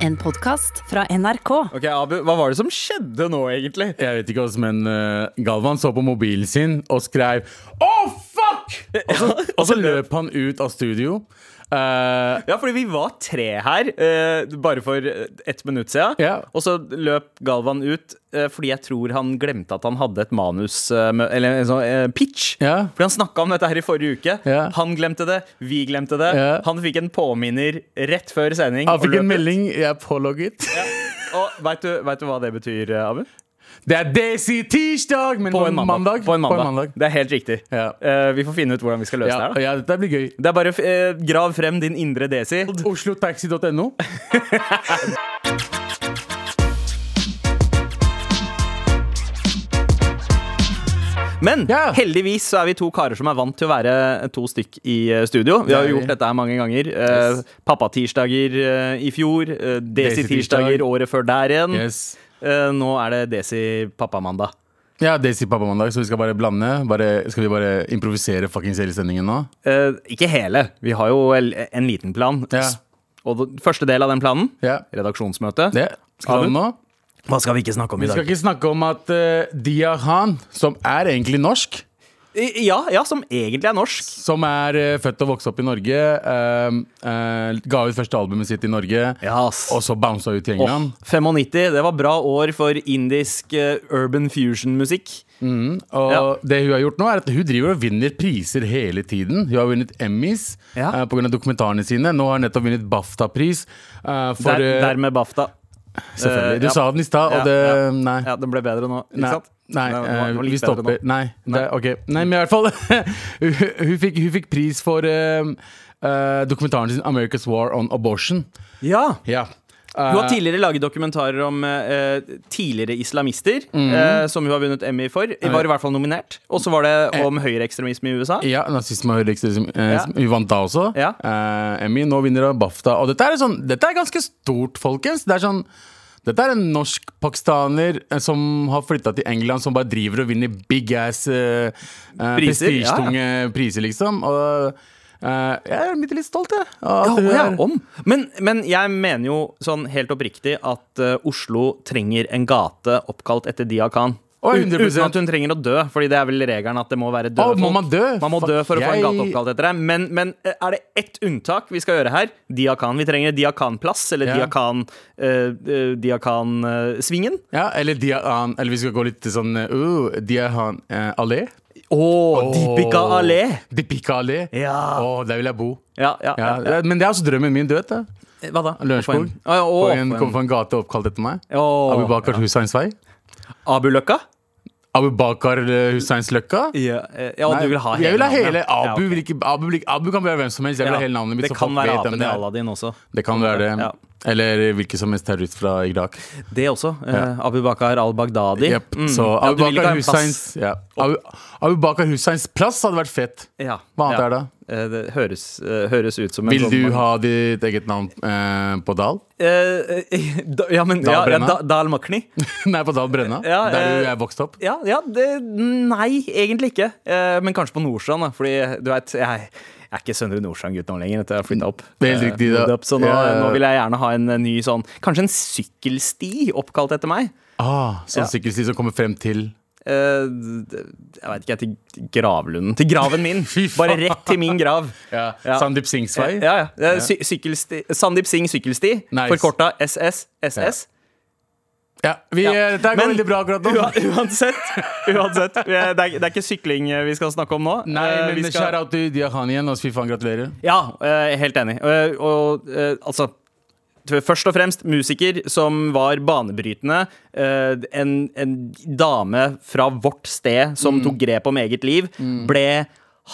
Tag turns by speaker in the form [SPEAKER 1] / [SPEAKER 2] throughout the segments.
[SPEAKER 1] En podkast fra NRK.
[SPEAKER 2] Ok, Abu, Hva var det som skjedde nå, egentlig?
[SPEAKER 3] Jeg vet ikke, ass, men eh, Galvan så på mobilen sin og skrev Oh, fuck! Og så, og så løp han ut av studio. Eh,
[SPEAKER 2] Ja, fordi vi var tre her eh, bare for ett minutt siden.
[SPEAKER 3] Ja.
[SPEAKER 2] Og så løp Galvan ut eh, fordi jeg tror han glemte at han hadde et manus eh, med, Eller en sånn eh, pitch.
[SPEAKER 3] Ja.
[SPEAKER 2] Fordi han snakka om dette her i forrige uke.
[SPEAKER 3] Ja.
[SPEAKER 2] Han glemte det, vi glemte det.
[SPEAKER 3] Ja.
[SPEAKER 2] Han fikk en påminner rett før sending.
[SPEAKER 3] han fikk
[SPEAKER 2] og løp
[SPEAKER 3] en
[SPEAKER 2] ut.
[SPEAKER 3] melding. Jeg er pålogget.
[SPEAKER 2] Og vet du, vet du hva det betyr, eh, Abu?
[SPEAKER 3] Det er Daisy tirsdag, men på en mandag.
[SPEAKER 2] På en mandag. Det er helt riktig.
[SPEAKER 3] Ja.
[SPEAKER 2] Eh, vi får finne ut hvordan vi skal løse
[SPEAKER 3] Ja,
[SPEAKER 2] det her. da
[SPEAKER 3] ja, dette blir gøy.
[SPEAKER 2] Det er bare eh, grav frem din indre desi.
[SPEAKER 3] Oslotaxi.no.
[SPEAKER 2] Men
[SPEAKER 3] Ja.
[SPEAKER 2] heldigvis så er vi to karer som er vant til å være to stykk i eh, studio. Vi har
[SPEAKER 3] Det er
[SPEAKER 2] jo
[SPEAKER 3] vi.
[SPEAKER 2] gjort dette her mange ganger. Eh,
[SPEAKER 3] Yes.
[SPEAKER 2] Pappatirsdager eh, i fjor. eh, Desi-tirsdager
[SPEAKER 3] Desi-tirsdag.
[SPEAKER 2] året før der igjen.
[SPEAKER 3] Yes.
[SPEAKER 2] Eh, nå er det Desi-pappamandag.
[SPEAKER 3] Ja, Daisy pappamandag, så vi skal bare blande. Bare, skal vi bare improvisere fuckings hele sendingen nå?
[SPEAKER 2] Eh, ikke hele. Vi har jo el- en liten plan.
[SPEAKER 3] Ja.
[SPEAKER 2] S- Og den første del av den planen,
[SPEAKER 3] Ja.
[SPEAKER 2] redaksjonsmøte.
[SPEAKER 3] Det. Skal
[SPEAKER 2] Abu?
[SPEAKER 3] vi ha det nå?
[SPEAKER 2] Hva skal vi ikke snakke om
[SPEAKER 3] Vi
[SPEAKER 2] i
[SPEAKER 3] skal
[SPEAKER 2] dag?
[SPEAKER 3] ikke snakke om at eh, Dia Khan, som er egentlig norsk,
[SPEAKER 2] I- Ja, ja, som egentlig er norsk.
[SPEAKER 3] som er eh, født og vokst opp i Norge, eh, eh, ga ut første albumet sitt i Norge,
[SPEAKER 2] Ja, ass.
[SPEAKER 3] og så bounsa ut i
[SPEAKER 2] Åh,
[SPEAKER 3] England.
[SPEAKER 2] 95, det var bra år for indisk eh, urban fusion-musikk.
[SPEAKER 3] Og
[SPEAKER 2] Ja.
[SPEAKER 3] det hun har gjort nå, er at hun driver og vinner priser hele tiden. Hun har vunnet Emmys
[SPEAKER 2] Ja.
[SPEAKER 3] eh, på grunn pga. dokumentarene sine. Nå har hun nettopp vunnet BAFTA-pris eh, for
[SPEAKER 2] Der,
[SPEAKER 3] eh,
[SPEAKER 2] dermed BAFTA.
[SPEAKER 3] Selvfølgelig.
[SPEAKER 2] eh,
[SPEAKER 3] Du
[SPEAKER 2] ja.
[SPEAKER 3] sa den i stad,
[SPEAKER 2] Ja,
[SPEAKER 3] og det
[SPEAKER 2] ja.
[SPEAKER 3] Nei.
[SPEAKER 2] Ja, den ble bedre nå, ikke
[SPEAKER 3] Nei,
[SPEAKER 2] sant?
[SPEAKER 3] nei,
[SPEAKER 2] Den var- den var
[SPEAKER 3] eh,
[SPEAKER 2] litt
[SPEAKER 3] vi
[SPEAKER 2] bedre
[SPEAKER 3] stopper.
[SPEAKER 2] nå.
[SPEAKER 3] Nei, det, ok. Nei, men i hvert fall hun, hun, fikk, hun fikk pris for eh, eh, dokumentaren sin 'America's War on Abortion'.
[SPEAKER 2] Ja.
[SPEAKER 3] Ja.
[SPEAKER 2] Hun har
[SPEAKER 3] Eh,
[SPEAKER 2] tidligere laget dokumentarer om eh, tidligere islamister,
[SPEAKER 3] Mm.
[SPEAKER 2] eh, som hun har vunnet Emmy for.
[SPEAKER 3] Eh.
[SPEAKER 2] Var i hvert fall nominert. Og så var det om høyreekstremisme i USA.
[SPEAKER 3] Ja, nazisme og høyreekstremisme. Eh,
[SPEAKER 2] Ja.
[SPEAKER 3] Hun vant da også.
[SPEAKER 2] Ja.
[SPEAKER 3] Eh, Emmy. Nå vinner hun BAFTA. Og dette er, sånn, dette er ganske stort, folkens. Det er sånn dette er en norsk-pakistaner eh, som har flytta til England, som bare driver og vinner big ass eh, eh,
[SPEAKER 2] Priser, ja, ja.
[SPEAKER 3] prestisjetunge priser, liksom. Og eh, jeg er litt, litt stolt, jeg. av at
[SPEAKER 2] Ja,
[SPEAKER 3] hun
[SPEAKER 2] ja,
[SPEAKER 3] er-
[SPEAKER 2] om. Men, men jeg mener jo sånn helt oppriktig at eh, Oslo trenger en gate oppkalt etter Dia Khan.
[SPEAKER 3] Å,
[SPEAKER 2] Ut-
[SPEAKER 3] 100%.
[SPEAKER 2] Uten at hun trenger å dø, Fordi det er vel regelen at det må være døde
[SPEAKER 3] Å, må
[SPEAKER 2] folk.
[SPEAKER 3] man dø?
[SPEAKER 2] Man må
[SPEAKER 3] Fuck,
[SPEAKER 2] dø for å få en gate
[SPEAKER 3] jeg-
[SPEAKER 2] oppkalt etter deg. Men, men eh, er det ett unntak vi skal gjøre her? Dia Khan. Vi trenger Dia Khan-plass, eller
[SPEAKER 3] Ja.
[SPEAKER 2] Dia Khan eh, eh, Dia Khan-svingen.
[SPEAKER 3] Ja, eller Diahan Eller vi skal gå litt til sånn eh, uh, Diahan eh, Allé.
[SPEAKER 2] Å, Deepika
[SPEAKER 3] Åh,
[SPEAKER 2] Allé!
[SPEAKER 3] Deepika Allé.
[SPEAKER 2] Ja.
[SPEAKER 3] Åh, der vil jeg bo.
[SPEAKER 2] Ja, ja,
[SPEAKER 3] Ja,
[SPEAKER 2] ja,
[SPEAKER 3] Men det er altså drømmen min, du vet det.
[SPEAKER 2] ja. Hva da? Få
[SPEAKER 3] Lørenskog.
[SPEAKER 2] en- Å, ja, å,
[SPEAKER 3] Få
[SPEAKER 2] få
[SPEAKER 3] en,
[SPEAKER 2] en-
[SPEAKER 3] kom fra en gate oppkalt etter meg.
[SPEAKER 2] Å,
[SPEAKER 3] Abu Bakar Husseins vei.
[SPEAKER 2] Abuløkka?
[SPEAKER 3] Abu Bakar eh, Husseins løkka.
[SPEAKER 2] Ja, eh, ja,
[SPEAKER 3] Nei,
[SPEAKER 2] du vil ha hele
[SPEAKER 3] jeg vil ha
[SPEAKER 2] navnet.
[SPEAKER 3] hele
[SPEAKER 2] Ja,
[SPEAKER 3] Abu,
[SPEAKER 2] ok.
[SPEAKER 3] vil ikke, Abu, vil ikke, Abu kan være hvem som helst. Jeg vil ha
[SPEAKER 2] Ja.
[SPEAKER 3] hele navnet mitt.
[SPEAKER 2] Det
[SPEAKER 3] så
[SPEAKER 2] kan
[SPEAKER 3] folk
[SPEAKER 2] være
[SPEAKER 3] vet hvem
[SPEAKER 2] apen i
[SPEAKER 3] det er.
[SPEAKER 2] Aladdin også.
[SPEAKER 3] Det kan være det.
[SPEAKER 2] Ja.
[SPEAKER 3] Eller hvilken som helst terrorist fra Irak.
[SPEAKER 2] Det også. eh, Abu Bakar al-Baghdadi.
[SPEAKER 3] Jepp.
[SPEAKER 2] Mm.
[SPEAKER 3] Så
[SPEAKER 2] Ja,
[SPEAKER 3] Abu
[SPEAKER 2] du vil ikke ha
[SPEAKER 3] Bakar
[SPEAKER 2] en
[SPEAKER 3] Husseins
[SPEAKER 2] plass.
[SPEAKER 3] ja. Abu, Abu Bakar Husseins plass hadde vært fett.
[SPEAKER 2] ja.
[SPEAKER 3] Hva annet
[SPEAKER 2] ja.
[SPEAKER 3] er det?
[SPEAKER 2] Eh, Det høres, eh, høres ut som en
[SPEAKER 3] Vil
[SPEAKER 2] sånn-
[SPEAKER 3] du ha ditt eget navn eh, på Dal?
[SPEAKER 2] Eh, eh, da- Ja, men
[SPEAKER 3] Dal
[SPEAKER 2] ja, ja,
[SPEAKER 3] Brenna?
[SPEAKER 2] da, Dal Makhni.
[SPEAKER 3] Nei, på Dal Brenna?
[SPEAKER 2] Ja,
[SPEAKER 3] der
[SPEAKER 2] eh,
[SPEAKER 3] du er vokst opp?
[SPEAKER 2] Ja, ja det, nei, egentlig ikke. Eh, Men kanskje på Nordstrand, da. Fordi eh, du vet, jeg jeg er ikke Søndre Nordstrand-gutt nå lenger. Etter jeg har flyttet opp.
[SPEAKER 3] Det er helt
[SPEAKER 2] Eh,
[SPEAKER 3] riktig, da.
[SPEAKER 2] moved Opp, så nå,
[SPEAKER 3] Ja, ja, ja.
[SPEAKER 2] nå vil jeg gjerne ha en eh, ny sånn Kanskje en sykkelsti oppkalt etter meg.
[SPEAKER 3] Ah, sånn
[SPEAKER 2] Ja.
[SPEAKER 3] sykkelsti som kommer frem til
[SPEAKER 2] Eh, d- jeg veit ikke, jeg. Til gravlunden. Til graven min!
[SPEAKER 3] Fy
[SPEAKER 2] Bare
[SPEAKER 3] faen.
[SPEAKER 2] rett til min grav.
[SPEAKER 3] ja.
[SPEAKER 2] Ja.
[SPEAKER 3] Sandeep Singhs vei?
[SPEAKER 2] Ja, ja. Det er Sy sykkelsti Sandeep Singh sykkelsti.
[SPEAKER 3] Nice.
[SPEAKER 2] Forkorta SS. SS.
[SPEAKER 3] Ja, vi,
[SPEAKER 2] Ja.
[SPEAKER 3] eh, Dette her går
[SPEAKER 2] Men-
[SPEAKER 3] veldig bra akkurat nå.
[SPEAKER 2] Ua- uansett, uansett vi er- det, er, det er ikke sykling eh, vi skal snakke om nå.
[SPEAKER 3] Nei,
[SPEAKER 2] Eh,
[SPEAKER 3] men
[SPEAKER 2] vi
[SPEAKER 3] skal...
[SPEAKER 2] skal,
[SPEAKER 3] shout-out til Diahan igjen. Og fy faen, gratulerer.
[SPEAKER 2] Ja, eh, helt enig. Eh, og eh, altså t- Først og fremst musiker som var banebrytende. eh, en, en dame fra vårt sted som tok grep om eget liv. Ble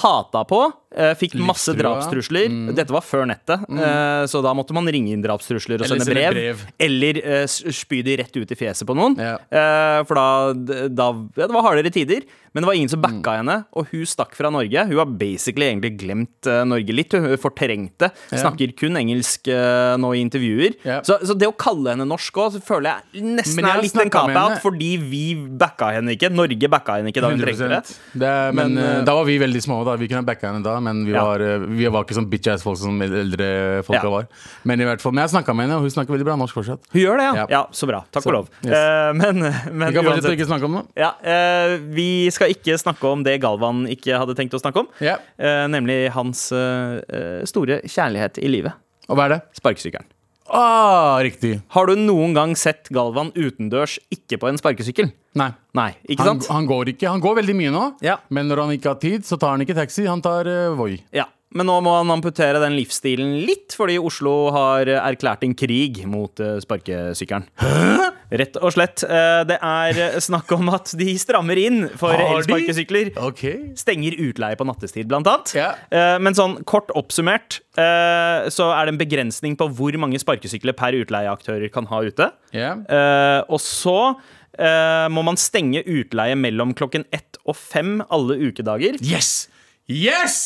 [SPEAKER 2] hata på. eh, fikk masse
[SPEAKER 3] Livstrua.
[SPEAKER 2] drapstrusler. Dette var før nettet, eh, så da måtte man ringe inn drapstrusler og
[SPEAKER 3] Eller
[SPEAKER 2] sende
[SPEAKER 3] sende
[SPEAKER 2] brev.
[SPEAKER 3] brev.
[SPEAKER 2] Eller eh, s- spy de rett ut i fjeset på noen.
[SPEAKER 3] Ja.
[SPEAKER 2] Eh, for da, d- da ja, Det var hardere tider, men det var ingen som
[SPEAKER 3] Mm.
[SPEAKER 2] backa henne. Og hun stakk fra Norge. Hun har basically egentlig glemt eh, Norge litt. Hun fortrengte. Snakker kun engelsk eh, nå i intervjuer.
[SPEAKER 3] Ja.
[SPEAKER 2] Så, så det å kalle henne norsk òg, føler jeg
[SPEAKER 3] Men
[SPEAKER 2] nesten
[SPEAKER 3] jeg har
[SPEAKER 2] er litt en
[SPEAKER 3] snakket med
[SPEAKER 2] cop-out,
[SPEAKER 3] henne.
[SPEAKER 2] fordi vi backa henne ikke. Norge backa henne ikke da hun trengte det.
[SPEAKER 3] Det er, men
[SPEAKER 2] Men,
[SPEAKER 3] eh,
[SPEAKER 2] eh,
[SPEAKER 3] da var vi veldig små. da Vi kunne backa henne da. da, men vi,
[SPEAKER 2] Ja.
[SPEAKER 3] var, eh, vi var ikke sånn bitch ass-folk som eldre folka
[SPEAKER 2] Ja.
[SPEAKER 3] var. Men i hvert fall, men jeg snakka med henne, og hun snakker veldig bra norsk fortsatt.
[SPEAKER 2] Hun gjør det, ja.
[SPEAKER 3] Ja.
[SPEAKER 2] ja så bra. Takk
[SPEAKER 3] Så,
[SPEAKER 2] og lov.
[SPEAKER 3] yes.
[SPEAKER 2] Eh, men men
[SPEAKER 3] Vi kan fortsette å
[SPEAKER 2] uansett.
[SPEAKER 3] ikke snakke om det.
[SPEAKER 2] Ja, eh, vi skal ikke snakke om det Galvan ikke hadde tenkt å snakke om.
[SPEAKER 3] Ja.
[SPEAKER 2] Eh, nemlig hans eh, eh, store kjærlighet i livet.
[SPEAKER 3] Og hva er det?
[SPEAKER 2] Sparkesykkelen.
[SPEAKER 3] Ah, riktig.
[SPEAKER 2] Har du noen gang sett Galvan utendørs ikke på en sparkesykkel?
[SPEAKER 3] Nei.
[SPEAKER 2] Nei, ikke
[SPEAKER 3] Han,
[SPEAKER 2] sant?
[SPEAKER 3] han går ikke. Han går veldig mye nå,
[SPEAKER 2] Ja.
[SPEAKER 3] men når han ikke har tid, så tar han ikke taxi. Han tar uh, Voi.
[SPEAKER 2] Ja, Men nå må han amputere den livsstilen litt, fordi Oslo har eh, erklært en krig mot eh, sparkesykkelen. Rett og slett. Eh, Det er eh, snakk om at de strammer inn for
[SPEAKER 3] Har de?
[SPEAKER 2] elsparkesykler.
[SPEAKER 3] Ok.
[SPEAKER 2] Stenger utleie på nattestid, blant annet.
[SPEAKER 3] Ja.
[SPEAKER 2] Eh, Men sånn kort oppsummert eh, så er det en begrensning på hvor mange sparkesykler per utleieaktører kan ha ute.
[SPEAKER 3] Ja.
[SPEAKER 2] Eh, og så eh, må man stenge utleie mellom klokken ett og fem alle ukedager.
[SPEAKER 3] Yes! Yes!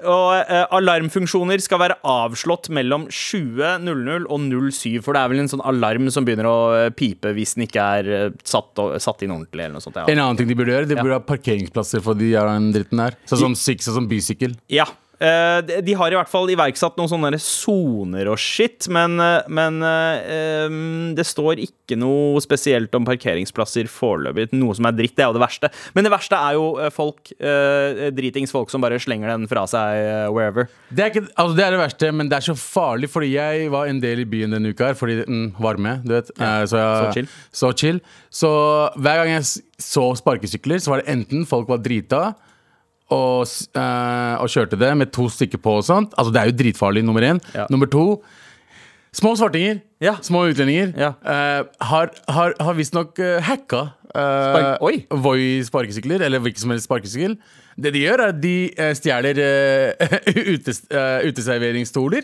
[SPEAKER 2] Og eh, alarmfunksjoner skal være avslått mellom 20.00 og 07, for det er vel en sånn alarm som begynner å eh, pipe hvis den ikke er eh, satt, og, satt inn ordentlig, eller noe sånt. Ja.
[SPEAKER 3] En annen ting de burde gjøre, de burde ha parkeringsplasser for de er den dritten der. Sånn som Six og sånn bysykkel.
[SPEAKER 2] ja. Eh, de- de har i hvert fall iverksatt noen sånne der soner og shit, men, eh, men eh, em, det står ikke noe spesielt om parkeringsplasser foreløpig. Noe som er dritt, det er jo det verste. Men det verste er jo eh, folk, eh, dritings folk som bare slenger den fra seg eh, wherever.
[SPEAKER 3] Det er, ikke, altså det er det verste, men det er så farlig, fordi jeg var en del i byen denne uka her, fordi mm, varme, du vet. Eh, så, jeg,
[SPEAKER 2] så chill.
[SPEAKER 3] så chill. Så hver gang jeg s- så sparkesykler, så var det enten folk var drita og, s- eh, og kjørte det med to stykker på og sånt. Altså det er jo dritfarlig, nummer én.
[SPEAKER 2] Ja.
[SPEAKER 3] Nummer to, små svartinger,
[SPEAKER 2] Ja.
[SPEAKER 3] små utlendinger,
[SPEAKER 2] Ja.
[SPEAKER 3] eh, har, har, har visstnok eh, hacka
[SPEAKER 2] Spark- Oi.
[SPEAKER 3] uh, Voi sparkesykler, eller hvilken som helst sparkesykkel. Det de gjør, er at de eh, stjeler eh, utes, eh, uteserveringsstoler.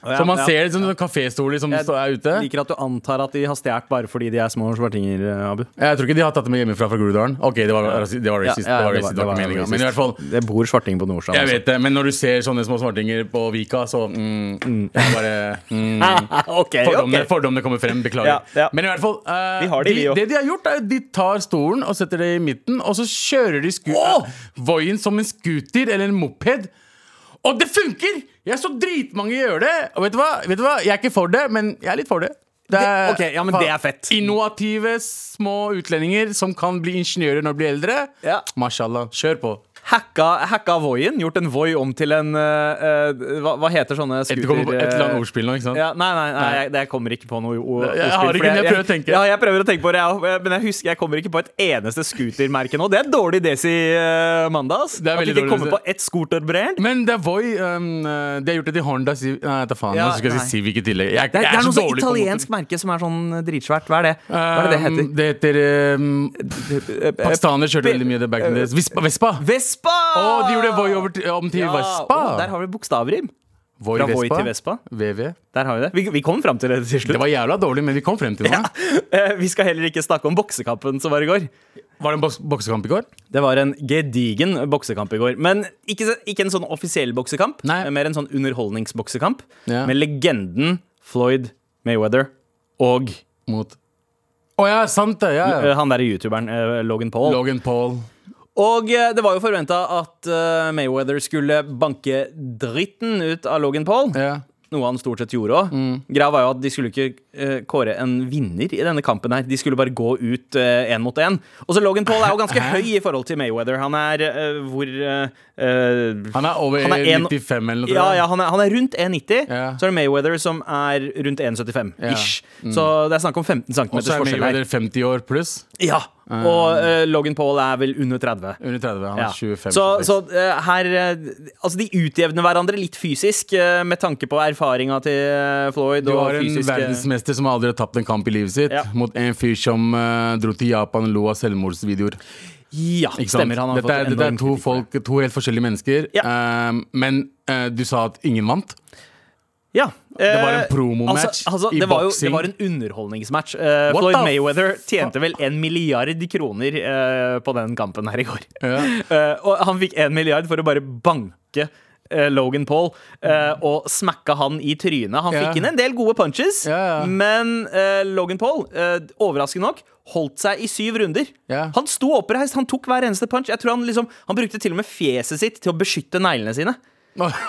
[SPEAKER 3] så man ser det som sånne kaféstoler som
[SPEAKER 2] Jeg
[SPEAKER 3] står- er ute.
[SPEAKER 2] liker at du antar at de har stjålet bare fordi de er små svartinger, eh, Abu.
[SPEAKER 3] Jeg tror ikke de har tatt det med hjemmefra fra Groruddalen. Ok, det var, rasi- det var racist. det var racist, det var ikke meningen, Men i hvert fall
[SPEAKER 2] Det bor svarting på altså. Nordstrand.
[SPEAKER 3] jeg vet det, men når du ser sånne små svartinger på Vika, så mm, jeg bare mm,
[SPEAKER 2] ok,
[SPEAKER 3] Fordommene, fordommene kommer frem, beklager.
[SPEAKER 2] Ja, ja.
[SPEAKER 3] Men i hvert fall eh,
[SPEAKER 2] Vi har de, vi
[SPEAKER 3] de,
[SPEAKER 2] også.
[SPEAKER 3] Det de har gjort, er at de tar stolen og setter det i midten, og så kjører de sku eh, Voien som en scooter eller en moped. Og det funker! Jeg så dritmange gjøre det. Og vet du, hva? vet du hva? Jeg er ikke for det, men jeg er litt for det.
[SPEAKER 2] Det- ok, ja, men det er fett.
[SPEAKER 3] Innovative små utlendinger som kan bli ingeniører når de blir eldre.
[SPEAKER 2] Ja.
[SPEAKER 3] Mashallah. Kjør på.
[SPEAKER 2] Hacka, hacka Voien. Gjort en Voi om til en eh, eh, hva, hva heter sånne
[SPEAKER 3] Et,
[SPEAKER 2] scooter...
[SPEAKER 3] det kommer på et eller annet
[SPEAKER 2] eh,
[SPEAKER 3] ordspill nå, ikke sant?
[SPEAKER 2] Ja, nei, nei, nei jeg, det jeg kommer ikke på noe o- ordspill.
[SPEAKER 3] jeg har ikke,
[SPEAKER 2] for
[SPEAKER 3] men jeg prøver å tenke.
[SPEAKER 2] Ja, jeg prøver å tenke på det, jeg òg, men jeg husker jeg kommer ikke på et eneste scootermerke nå. Det er dårlig Desi eh, Mandags.
[SPEAKER 3] Det er
[SPEAKER 2] At
[SPEAKER 3] veldig
[SPEAKER 2] du ikke
[SPEAKER 3] dårlig
[SPEAKER 2] kommer
[SPEAKER 3] Desi.
[SPEAKER 2] på ett scooterbrand.
[SPEAKER 3] Men det er Voi um, eh, De har gjort det til Honda Civ... Nei, ta faen.
[SPEAKER 2] Ja,
[SPEAKER 3] nå skal jeg
[SPEAKER 2] nei.
[SPEAKER 3] si Civic i tillegg. Jeg,
[SPEAKER 2] Det er,
[SPEAKER 3] jeg
[SPEAKER 2] det er
[SPEAKER 3] så
[SPEAKER 2] noe sånn
[SPEAKER 3] dårlig på motor.
[SPEAKER 2] italiensk merke som er sånn dritsvært. Hva er det? Hva er det det heter? Eh,
[SPEAKER 3] Um, det heter um, Pakistaner kjørte veldig mye det back in the days. Vespa! Vespa.
[SPEAKER 2] Vespa!
[SPEAKER 3] Å, de gjorde Voi over til, om til Vespa.
[SPEAKER 2] å, der har vi bokstavrim.
[SPEAKER 3] Voi
[SPEAKER 2] Fra Voi til Vespa.
[SPEAKER 3] VV.
[SPEAKER 2] Der har Vi det Vi, vi kom fram til det til
[SPEAKER 3] Det
[SPEAKER 2] slutt.
[SPEAKER 3] var jævla dårlig, men vi kom frem til noe.
[SPEAKER 2] Eh, Vi skal heller ikke snakke om boksekampen som var i går.
[SPEAKER 3] Var det en boks boksekamp i går?
[SPEAKER 2] Det var en gedigen boksekamp i går. Men ikke, så- ikke en sånn offisiell boksekamp,
[SPEAKER 3] Nei.
[SPEAKER 2] eh, mer en sånn underholdningsboksekamp
[SPEAKER 3] Ja.
[SPEAKER 2] med legenden Floyd Mayweather og
[SPEAKER 3] Mot Å ja, sant det. Ja,
[SPEAKER 2] eh,
[SPEAKER 3] ja.
[SPEAKER 2] han derre youtuberen eh, Logan Paul.
[SPEAKER 3] Logan Paul.
[SPEAKER 2] Og eh, det var jo forventa at eh, Mayweather skulle banke dritten ut av Logan Paul.
[SPEAKER 3] Ja.
[SPEAKER 2] Noe han stort sett gjorde òg.
[SPEAKER 3] Mm.
[SPEAKER 2] Greia var jo at de skulle ikke eh, kåre en vinner i denne kampen. her De skulle bare gå ut én mot én. Og så Logan Paul er jo ganske høy i forhold til Mayweather. Han er eh, hvor eh, eh,
[SPEAKER 3] Han er over
[SPEAKER 2] Han er en-
[SPEAKER 3] 95 eller noe.
[SPEAKER 2] ja,
[SPEAKER 3] tror jeg.
[SPEAKER 2] ja, han er, han er rundt 1,90.
[SPEAKER 3] Ja. Mm.
[SPEAKER 2] Så er det Mayweather som er rundt 1,75 ish. Så det er snakk om 15 cm
[SPEAKER 3] Og så er
[SPEAKER 2] forskjell her.
[SPEAKER 3] Mayweather 50 år pluss.
[SPEAKER 2] Ja, Og eh, Logan Paul er vel under 30.
[SPEAKER 3] Under 30. Han
[SPEAKER 2] Ja.
[SPEAKER 3] er 25.
[SPEAKER 2] Så,
[SPEAKER 3] 26.
[SPEAKER 2] så eh, her eh, Altså, de utjevner hverandre litt fysisk eh, med tanke på erfaringa til eh, Floyd.
[SPEAKER 3] Du
[SPEAKER 2] og
[SPEAKER 3] har en
[SPEAKER 2] fysisk, eh,
[SPEAKER 3] verdensmester som aldri har tapt en kamp i livet sitt,
[SPEAKER 2] Ja.
[SPEAKER 3] mot en fyr som eh, dro til Japan og lo av selvmordsvideoer.
[SPEAKER 2] Ja,
[SPEAKER 3] Ikke sant?
[SPEAKER 2] stemmer. Han har
[SPEAKER 3] dette er,
[SPEAKER 2] fått
[SPEAKER 3] dette er
[SPEAKER 2] enorm
[SPEAKER 3] to,
[SPEAKER 2] kritikk for det.
[SPEAKER 3] folk, to helt forskjellige mennesker. Eh, men eh, du sa at ingen vant.
[SPEAKER 2] Ja. Det
[SPEAKER 3] var en promomatch i
[SPEAKER 2] det var jo,
[SPEAKER 3] boksing.
[SPEAKER 2] Det var en underholdningsmatch. Eh,
[SPEAKER 3] What
[SPEAKER 2] Floyd
[SPEAKER 3] the
[SPEAKER 2] Mayweather tjente vel en milliard kroner eh, på den kampen her i går.
[SPEAKER 3] Ja.
[SPEAKER 2] Eh, og han fikk en milliard for å bare banke eh, Logan Paul eh, og smakka han i trynet. Han
[SPEAKER 3] Ja.
[SPEAKER 2] fikk inn en del gode punches,
[SPEAKER 3] Ja, ja.
[SPEAKER 2] men eh, Logan Paul, eh, overraskende nok, holdt seg i syv runder.
[SPEAKER 3] Ja.
[SPEAKER 2] Han sto oppreist, han tok hver eneste punch. Jeg tror han, liksom, han brukte til og med fjeset sitt til å beskytte neglene sine.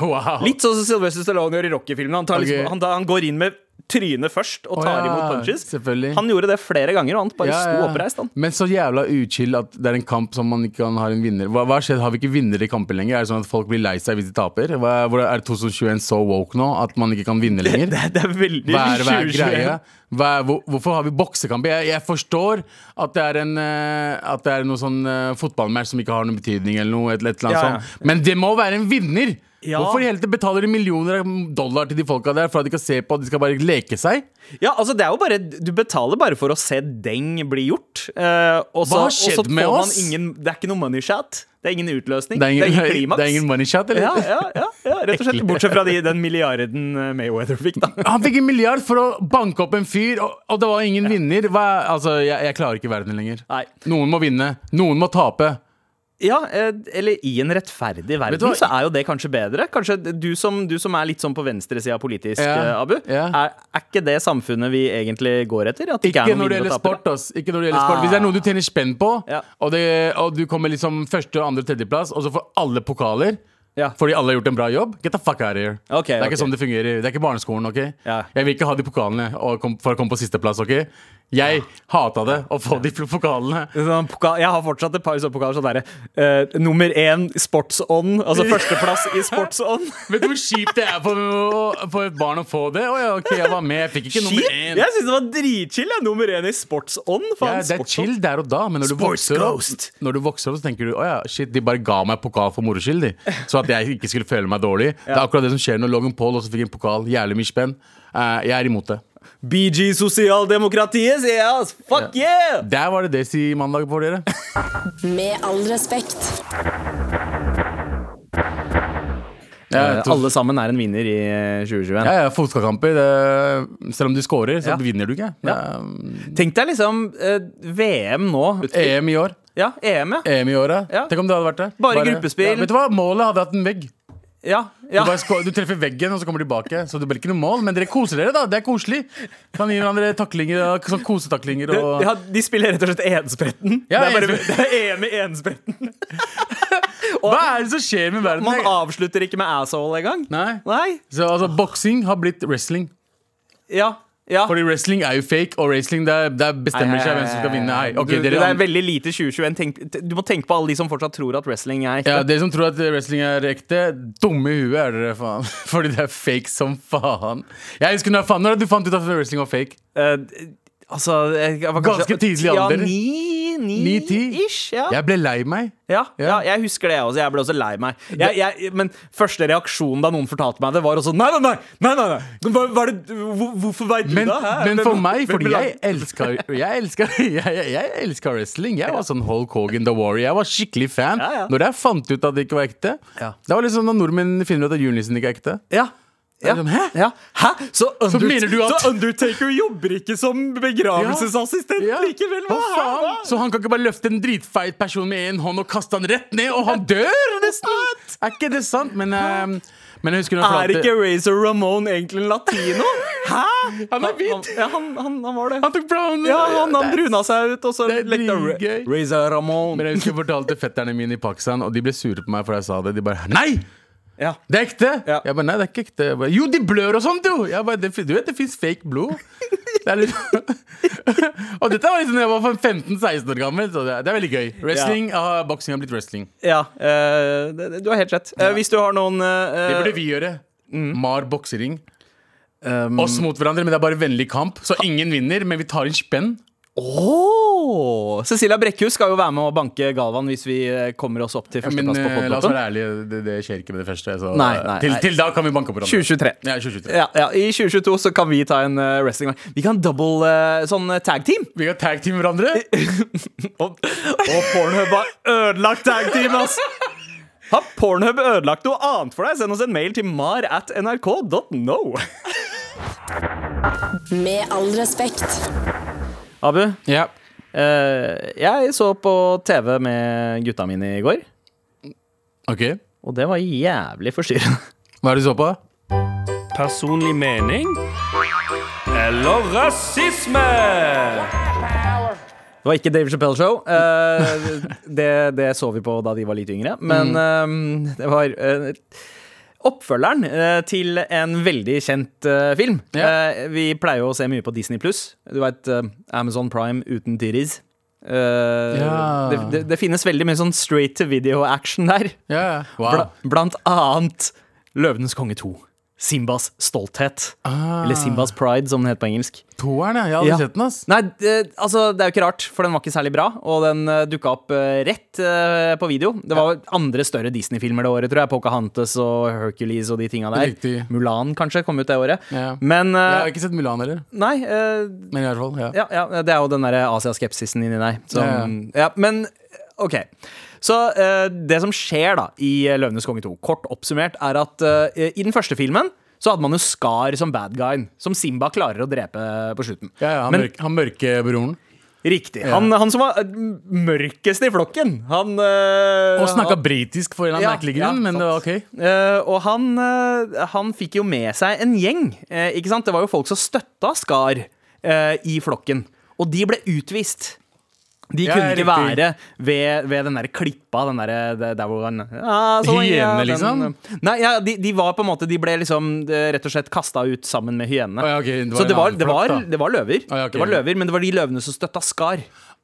[SPEAKER 3] Wow.
[SPEAKER 2] Litt sånn som Sylvester Stallone gjør i Rocky-filmen. Han, tar liksom,
[SPEAKER 3] Ok.
[SPEAKER 2] han, han går inn med trynet først og
[SPEAKER 3] Å,
[SPEAKER 2] tar
[SPEAKER 3] ja,
[SPEAKER 2] imot punches.
[SPEAKER 3] selvfølgelig.
[SPEAKER 2] Han gjorde det flere ganger, og han bare
[SPEAKER 3] Ja,
[SPEAKER 2] sto
[SPEAKER 3] ja.
[SPEAKER 2] oppreist. Han.
[SPEAKER 3] Men så jævla uchill at det er en kamp som man ikke kan ha en vinner. Hva, hva har skjedd? Har vi ikke vinnere i kamper lenger? Er det sånn at folk blir lei seg hvis de taper? Hva, hvor er 2021 så woke nå at man ikke kan vinne lenger?
[SPEAKER 2] Det, det er veldig
[SPEAKER 3] Hva er, hva er
[SPEAKER 2] 2021.
[SPEAKER 3] greia? Hva er, hvor, hvorfor har vi boksekamp? Jeg, jeg forstår at det er, en, eh, at det er noe sånn eh, fotballmatch som ikke har noen betydning, eller noe, et, et eller
[SPEAKER 2] Ja, ja.
[SPEAKER 3] annet sånt. Men det må være en vinner!
[SPEAKER 2] Ja.
[SPEAKER 3] Hvorfor i hele tatt betaler de millioner av dollar til de folka der for at de skal se på at de skal bare leke seg?
[SPEAKER 2] Ja, altså det er jo bare Du betaler bare for å se deng bli gjort. Eh, og så-
[SPEAKER 3] Hva har
[SPEAKER 2] og så
[SPEAKER 3] skjedd
[SPEAKER 2] får
[SPEAKER 3] med
[SPEAKER 2] man
[SPEAKER 3] oss?
[SPEAKER 2] Ingen, det er ikke noe money shot. Det er ingen utløsning.
[SPEAKER 3] Det er ingen, det
[SPEAKER 2] klimaks.
[SPEAKER 3] er ingen money shot, eller?
[SPEAKER 2] ja, ja, ja, ja, rett og slett. Bortsett fra de, den milliarden eh, Mayweather fikk, da.
[SPEAKER 3] Han fikk en milliard for å banke opp en fyr, og, og det var ingen vinner. Hva, altså, jeg, jeg klarer ikke verden lenger.
[SPEAKER 2] Nei.
[SPEAKER 3] Noen må vinne. Noen må tape.
[SPEAKER 2] Ja, eh, eller i en rettferdig verden
[SPEAKER 3] du hva?
[SPEAKER 2] så er jo det kanskje bedre. Kanskje du som, du som er litt sånn på venstresida politisk,
[SPEAKER 3] Ja,
[SPEAKER 2] eh, Abu.
[SPEAKER 3] ja.
[SPEAKER 2] Er, er ikke det samfunnet vi egentlig går etter? At det
[SPEAKER 3] Ikke
[SPEAKER 2] ikke er noen
[SPEAKER 3] når det
[SPEAKER 2] vinnere
[SPEAKER 3] gjelder
[SPEAKER 2] og tapere? Ah.
[SPEAKER 3] sport. Ass. Ikke når det gjelder sport Hvis det er noe du tjener spenn på,
[SPEAKER 2] Ja.
[SPEAKER 3] og, det, og du kommer liksom første, andre, tredjeplass, og så får alle pokaler
[SPEAKER 2] Ja.
[SPEAKER 3] fordi alle har gjort en bra jobb, get the fuck out of here.
[SPEAKER 2] Ok,
[SPEAKER 3] det er
[SPEAKER 2] ok.
[SPEAKER 3] ikke sånn det fungerer. Det er ikke barneskolen. ok?
[SPEAKER 2] Ja.
[SPEAKER 3] Jeg vil ikke ha de pokalene og kom, for å komme på sisteplass. ok? Jeg hata det å få de pokalene.
[SPEAKER 2] Sånn pokal, jeg har fortsatt et par sånne pokaler. Sånn derre eh, nummer én sportsånd. Altså førsteplass i sportsånd.
[SPEAKER 3] Vet du hvor kjipt det er for, for et barn å få det? Å ja, ok, jeg var med. Jeg fikk ikke nummer
[SPEAKER 2] Shit,
[SPEAKER 3] én.
[SPEAKER 2] Jeg syns det var dritchill. Jeg. Nummer én i sportsånd.
[SPEAKER 3] Ja,
[SPEAKER 2] Faen,
[SPEAKER 3] det er
[SPEAKER 2] sportsånd.
[SPEAKER 3] chill der og da, men når du,
[SPEAKER 2] Sports
[SPEAKER 3] vokser opp,
[SPEAKER 2] ghost.
[SPEAKER 3] når du vokser opp, så tenker du å ja, shit, de bare ga meg pokal for moro skyld, de. Så at jeg ikke skulle føle meg dårlig. Det er akkurat det som skjer når Logan Paul også fikk en pokal. Jævlig mye spenn. Eh, jeg er imot det.
[SPEAKER 2] BG Sosialdemokratiet, sier jeg. ass. Fuck yeah!
[SPEAKER 3] Der var det det sier mandag for dere.
[SPEAKER 4] Med all respekt.
[SPEAKER 3] Jeg
[SPEAKER 2] Eh,
[SPEAKER 3] tror-
[SPEAKER 2] Alle sammen er en vinner i eh, 2021.
[SPEAKER 3] Ja, ja, fotballkamper. det- Selv om du scorer, så
[SPEAKER 2] Ja.
[SPEAKER 3] vinner du ikke. Det
[SPEAKER 2] Ja.
[SPEAKER 3] er,
[SPEAKER 2] Tenk deg liksom eh, VM nå.
[SPEAKER 3] EM E i år.
[SPEAKER 2] Ja, EM, ja.
[SPEAKER 3] EM i året.
[SPEAKER 2] Ja.
[SPEAKER 3] Tenk om det hadde vært det.
[SPEAKER 2] Bare gruppespill.
[SPEAKER 3] Ja, vet du hva? Målet hadde hatt en vegg.
[SPEAKER 2] ja, ja.
[SPEAKER 3] Du, bare sko- du treffer veggen, og så kommer du tilbake. Så det blir ikke noe mål, men dere koser dere, da. Det er koselig. Kan gi hverandre taklinger og sånn kosetaklinger og
[SPEAKER 2] Ja, de spiller rett og slett enspretten.
[SPEAKER 3] Ja,
[SPEAKER 2] det, er bare,
[SPEAKER 3] enspretten.
[SPEAKER 2] det er EM i enspretten.
[SPEAKER 3] Hva er det som skjer med verden?
[SPEAKER 2] Man avslutter ikke med asshole engang.
[SPEAKER 3] Nei.
[SPEAKER 2] Nei.
[SPEAKER 3] Så altså, boksing har blitt wrestling.
[SPEAKER 2] Ja. ja.
[SPEAKER 3] Fordi wrestling er jo fake, og wrestling der, der bestemmer seg hvem som skal vinne. Hei, ok,
[SPEAKER 2] du, det
[SPEAKER 3] dere,
[SPEAKER 2] er veldig lite 2021. Tenk, du må tenke på alle de som fortsatt tror at wrestling er ekte.
[SPEAKER 3] ja, dere som tror at wrestling er ekte, dumme i huet er dere, faen. Fordi det er fake som faen. Jeg husker når, faen, når du fant ut at wrestling var fake.
[SPEAKER 2] Eh, altså jeg var
[SPEAKER 3] Ganske tidlig i alder.
[SPEAKER 2] Ja, ni, ni,
[SPEAKER 3] Ni-ti.
[SPEAKER 2] ish. Ja.
[SPEAKER 3] Jeg ble lei meg.
[SPEAKER 2] Ja, ja,
[SPEAKER 3] Ja.
[SPEAKER 2] jeg husker det, jeg også. Jeg ble også lei meg. Jeg, jeg, men første reaksjonen da noen fortalte meg det, var også Nei, nei, nei! nei, nei, nei. Hva, hva er det, hvor, hvorfor veit du
[SPEAKER 3] Men,
[SPEAKER 2] det? hæ?
[SPEAKER 3] men
[SPEAKER 2] Hvem-
[SPEAKER 3] for meg,
[SPEAKER 2] hvem-
[SPEAKER 3] fordi
[SPEAKER 2] hvem-
[SPEAKER 3] jeg elska jeg, elsker- jeg, jeg, jeg elsker wrestling. Jeg var sånn Hulk Hogan The Warrior. Jeg var skikkelig fan.
[SPEAKER 2] Ja, ja.
[SPEAKER 3] Når jeg fant ut at det ikke var ekte
[SPEAKER 2] Ja.
[SPEAKER 3] Det var liksom når nordmenn finner ut at julenissen ikke er ekte.
[SPEAKER 2] Ja. Ja.
[SPEAKER 3] Det er liksom, hæ?
[SPEAKER 2] ja. sånn, Hæ? Så, Undert-
[SPEAKER 3] mener du at-
[SPEAKER 2] så Undertaker jobber ikke som begravelsesassistent
[SPEAKER 3] Ja.
[SPEAKER 2] likevel?
[SPEAKER 3] Hva
[SPEAKER 2] hæ?
[SPEAKER 3] faen? Så han kan ikke bare løfte en dritfeit person med en hånd og kaste han rett ned, og han dør nesten! Er ikke det sant? Men, ehm, men jeg husker når
[SPEAKER 2] Er
[SPEAKER 3] jeg
[SPEAKER 2] ikke
[SPEAKER 3] fortalte-
[SPEAKER 2] Razor Ramon egentlig en latino? Hæ?
[SPEAKER 3] Han er hvit.
[SPEAKER 2] Han, ja, han, han, han var det.
[SPEAKER 3] Han tok brown!
[SPEAKER 2] Ja, han, han
[SPEAKER 3] Det er-
[SPEAKER 2] bruna seg ut, og så
[SPEAKER 3] det er
[SPEAKER 2] lekte han
[SPEAKER 3] dritgøy.
[SPEAKER 2] Ra- Razor Ramon.
[SPEAKER 3] Men jeg husker jeg fortalte fetterne mine i Pakistan, og de ble sure på meg for jeg sa det. De bare Nei!
[SPEAKER 2] Ja.
[SPEAKER 3] Det er ekte!
[SPEAKER 2] Ja.
[SPEAKER 3] Jeg bare, nei, det er ikke ekte. Jeg bare, jo, de blør og sånt, jo! Jeg bare, det, fin- du vet, det fins fake blod. Det er litt... og dette var liksom da jeg var 15-16 år gammel, så det er, det er veldig gøy. Wrestling, ah, Boksing har blitt wrestling.
[SPEAKER 2] Ja, eh, det- det- du har helt rett. Eh, hvis du har noen eh, mm.
[SPEAKER 3] Det burde vi gjøre. Mar boksering.
[SPEAKER 2] Ehm.
[SPEAKER 3] Oss mot hverandre, men det er bare vennlig kamp.
[SPEAKER 2] Ah.
[SPEAKER 3] Så ingen vinner, men vi tar inn spenn.
[SPEAKER 2] Åh! Cecilia Brekkhus skal jo være med å banke Galvan hvis vi eh, kommer oss opp til
[SPEAKER 3] Men
[SPEAKER 2] førsteplass på
[SPEAKER 3] eh, la oss
[SPEAKER 2] Folketoppen.
[SPEAKER 3] være ærlige, det, det skjer ikke med det første. Så,
[SPEAKER 2] Nei, nei,
[SPEAKER 3] til,
[SPEAKER 2] nei.
[SPEAKER 3] til da kan vi banke opp hverandre.
[SPEAKER 2] 2023.
[SPEAKER 3] Ja, 2023.
[SPEAKER 2] Ja, ja, I 2022 så kan vi ta en eh, wrestling Vi kan double eh, sånn eh, tag team.
[SPEAKER 3] Vi kan tag team hverandre.
[SPEAKER 2] Og, og Pornhub har ødelagt tag team, ass! Har Pornhub ødelagt noe annet for deg? Send oss en mail til mar at nrk.no.
[SPEAKER 4] Med all respekt.
[SPEAKER 2] Abu,
[SPEAKER 3] Ja.
[SPEAKER 2] eh, jeg så på TV med gutta mine i går.
[SPEAKER 3] Ok.
[SPEAKER 2] Og det var jævlig forstyrrende.
[SPEAKER 3] Hva er det du så på?
[SPEAKER 5] Personlig mening eller rasisme?
[SPEAKER 2] Det var ikke Dave Chappelle Show. Eh, det, det så vi på da de var litt yngre. Men
[SPEAKER 3] Mm.
[SPEAKER 2] eh, det var eh, oppfølgeren eh, til en veldig kjent eh, film.
[SPEAKER 3] Ja.
[SPEAKER 2] Eh, vi pleier jo å se mye på Disney pluss. Du veit Amazon Prime uten Tiris. Eh,
[SPEAKER 3] Ja.
[SPEAKER 2] det, det, det finnes veldig mye sånn straight to video-action der.
[SPEAKER 3] Ja, ja. Wow.
[SPEAKER 2] Bla, blant annet Løvenes konge 2. Simbas stolthet.
[SPEAKER 3] Ah.
[SPEAKER 2] Eller Simbas pride, som den heter på engelsk.
[SPEAKER 3] Toeren, ja. Jeg hadde
[SPEAKER 2] Ja.
[SPEAKER 3] sett den, ass.
[SPEAKER 2] Nei, det, altså, det er jo ikke rart, for den var ikke særlig bra. Og den uh, dukka opp eh, rett eh, på video. Det var andre større Disney-filmer det året, tror jeg. Pocahontas og Hercules og de tinga der.
[SPEAKER 3] Riktig.
[SPEAKER 2] Mulan kanskje kom ut det året.
[SPEAKER 3] Ja.
[SPEAKER 2] Men
[SPEAKER 3] Jeg
[SPEAKER 2] eh,
[SPEAKER 3] har ikke sett Mulan heller.
[SPEAKER 2] Nei. eh,
[SPEAKER 3] Men i hvert fall, ja.
[SPEAKER 2] ja, ja, det er jo den derre asiaskepsisen inni deg. Som,
[SPEAKER 3] Ja,
[SPEAKER 2] ja. men OK. Så eh, det som skjer da i eh, Løvenes konge 2, kort oppsummert, er at eh, i den første filmen så hadde man jo Skar som bad guyen, som Simba klarer å drepe på slutten.
[SPEAKER 3] Ja, ja, han,
[SPEAKER 2] Men-
[SPEAKER 3] mørke, han mørke broren.
[SPEAKER 2] Riktig. Han, han som var eh, mørkest i flokken, han eh,
[SPEAKER 3] Og snakka
[SPEAKER 2] han-
[SPEAKER 3] britisk for en eller annen merkelig
[SPEAKER 2] ja,
[SPEAKER 3] grunn, men det var
[SPEAKER 2] sant.
[SPEAKER 3] ok.
[SPEAKER 2] Eh, og han, eh, han fikk jo med seg en gjeng. eh, ikke sant? Det var jo folk som støtta Skar eh, i flokken. Og de ble utvist. De
[SPEAKER 3] Ja,
[SPEAKER 2] kunne ikke
[SPEAKER 3] riktig.
[SPEAKER 2] være ved, ved den der klippa, den der, det- der hvor han ah, så, ja,
[SPEAKER 3] Hyenene,
[SPEAKER 2] den-
[SPEAKER 3] liksom?
[SPEAKER 2] Nei, ja, de, de var på en måte De ble liksom eh, rett og slett kasta ut sammen med hyenene.
[SPEAKER 3] Å, ja, ok, det var
[SPEAKER 2] så
[SPEAKER 3] en
[SPEAKER 2] det var,
[SPEAKER 3] annen
[SPEAKER 2] det,
[SPEAKER 3] flokk,
[SPEAKER 2] var,
[SPEAKER 3] da.
[SPEAKER 2] det var løver.
[SPEAKER 3] Å, ja, ok.
[SPEAKER 2] Det var løver, Men det var de løvene som støtta Skar.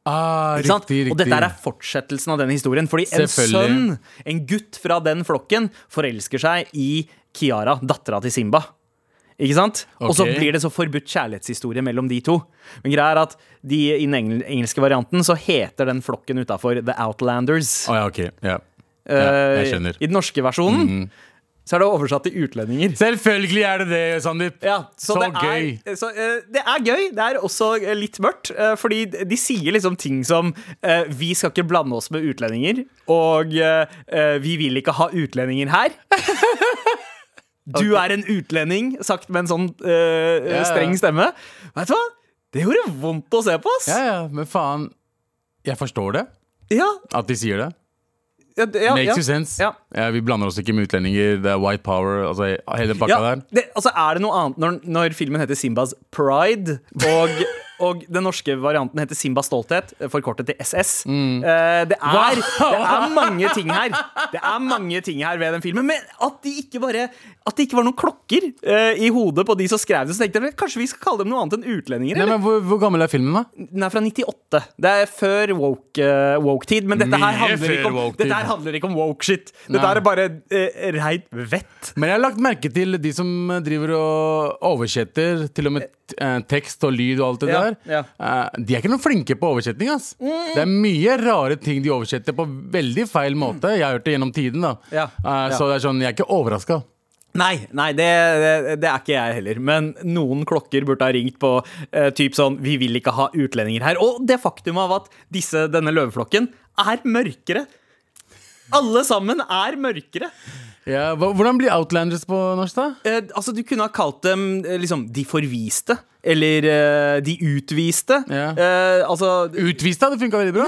[SPEAKER 3] Ah,
[SPEAKER 2] Ikke sant?
[SPEAKER 3] riktig, riktig.
[SPEAKER 2] Og dette er fortsettelsen av den historien. Fordi en sønn,
[SPEAKER 3] Selvfølgelig.
[SPEAKER 2] en gutt fra den flokken, forelsker seg i Kiara, dattera til Simba. Ikke sant? Og så
[SPEAKER 3] Ok.
[SPEAKER 2] blir det så forbudt kjærlighetshistorie mellom de to. Men greia er at de, i den engel- engelske varianten så heter den flokken utafor The Outlanders.
[SPEAKER 3] Å, ja, ok. Ja. Ja,
[SPEAKER 2] Eh,
[SPEAKER 3] jeg skjønner. Mhm.
[SPEAKER 2] I den norske versjonen så er det oversatt til utlendinger.
[SPEAKER 3] Selvfølgelig er det det, Sandeep.
[SPEAKER 2] Ja, så,
[SPEAKER 3] Så
[SPEAKER 2] det er,
[SPEAKER 3] gøy.
[SPEAKER 2] Så, eh, det er gøy. Det er også eh, litt mørkt. eh, fordi de sier liksom ting som eh, Vi skal ikke blande oss med utlendinger. Og eh, eh, vi vil ikke ha utlendinger her. Du er en utlending, sagt med en sånn eh,
[SPEAKER 3] Ja, ja.
[SPEAKER 2] streng stemme. Vet du hva? Det gjorde vondt å se på, ass!
[SPEAKER 3] Ja, ja, men faen. Jeg forstår det,
[SPEAKER 2] Ja,
[SPEAKER 3] at de sier det.
[SPEAKER 2] ja, d- ja,
[SPEAKER 3] Makes
[SPEAKER 2] ja.
[SPEAKER 3] you sense.
[SPEAKER 2] Ja.
[SPEAKER 3] Ja, vi blander oss ikke med utlendinger. Det er white power. Altså, hele den pakka
[SPEAKER 2] Ja,
[SPEAKER 3] der.
[SPEAKER 2] det, altså er det noe annet når, når filmen heter Simbas Pride, og, og den norske varianten heter Simbas Stolthet, forkortet til SS.
[SPEAKER 3] Mm.
[SPEAKER 2] Eh, det, er, det er mange ting her Det er mange ting her ved den filmen. Men at de ikke bare At det ikke var noen klokker eh, i hodet på de som skrev det, så tenkte jeg kanskje vi skal kalle dem noe annet enn utlendinger?
[SPEAKER 3] Nei,
[SPEAKER 2] Eller?
[SPEAKER 3] men hvor, hvor gammel er filmen, da?
[SPEAKER 2] Den er fra 98. Det er før woke, eh, woke-tid, men dette her,
[SPEAKER 3] Mye
[SPEAKER 2] handler ikke om,
[SPEAKER 3] før woke-tid.
[SPEAKER 2] dette her handler ikke om woke-shit. Dette
[SPEAKER 3] Nei.
[SPEAKER 2] er bare uh, reint vett.
[SPEAKER 3] Men jeg har lagt merke til de som driver og oversetter til og med eh, tekst og lyd og alt det
[SPEAKER 2] Ja, Mm.
[SPEAKER 3] der. Eh, de er ikke noen flinke på oversetting, ass. Det er mye rare ting de oversetter på veldig feil måte. Jeg har hørt det gjennom tiden, da.
[SPEAKER 2] Ja,
[SPEAKER 3] Eh,
[SPEAKER 2] ja.
[SPEAKER 3] Så det er sånn, jeg er ikke overraska.
[SPEAKER 2] Nei, nei det, det, det er ikke jeg heller. Men noen klokker burde ha ringt på eh, typ sånn Vi vil ikke ha utlendinger her. Og det faktum av at disse, denne løveflokken er mørkere. Alle sammen er mørkere.
[SPEAKER 3] Ja, hva- hvordan blir Outlanders på norsk, da?
[SPEAKER 2] Eh, altså, du kunne ha kalt dem eh, liksom De forviste. Eller eh, De utviste.
[SPEAKER 3] Ja.
[SPEAKER 2] Eh, altså
[SPEAKER 3] Utvist hadde funka veldig bra.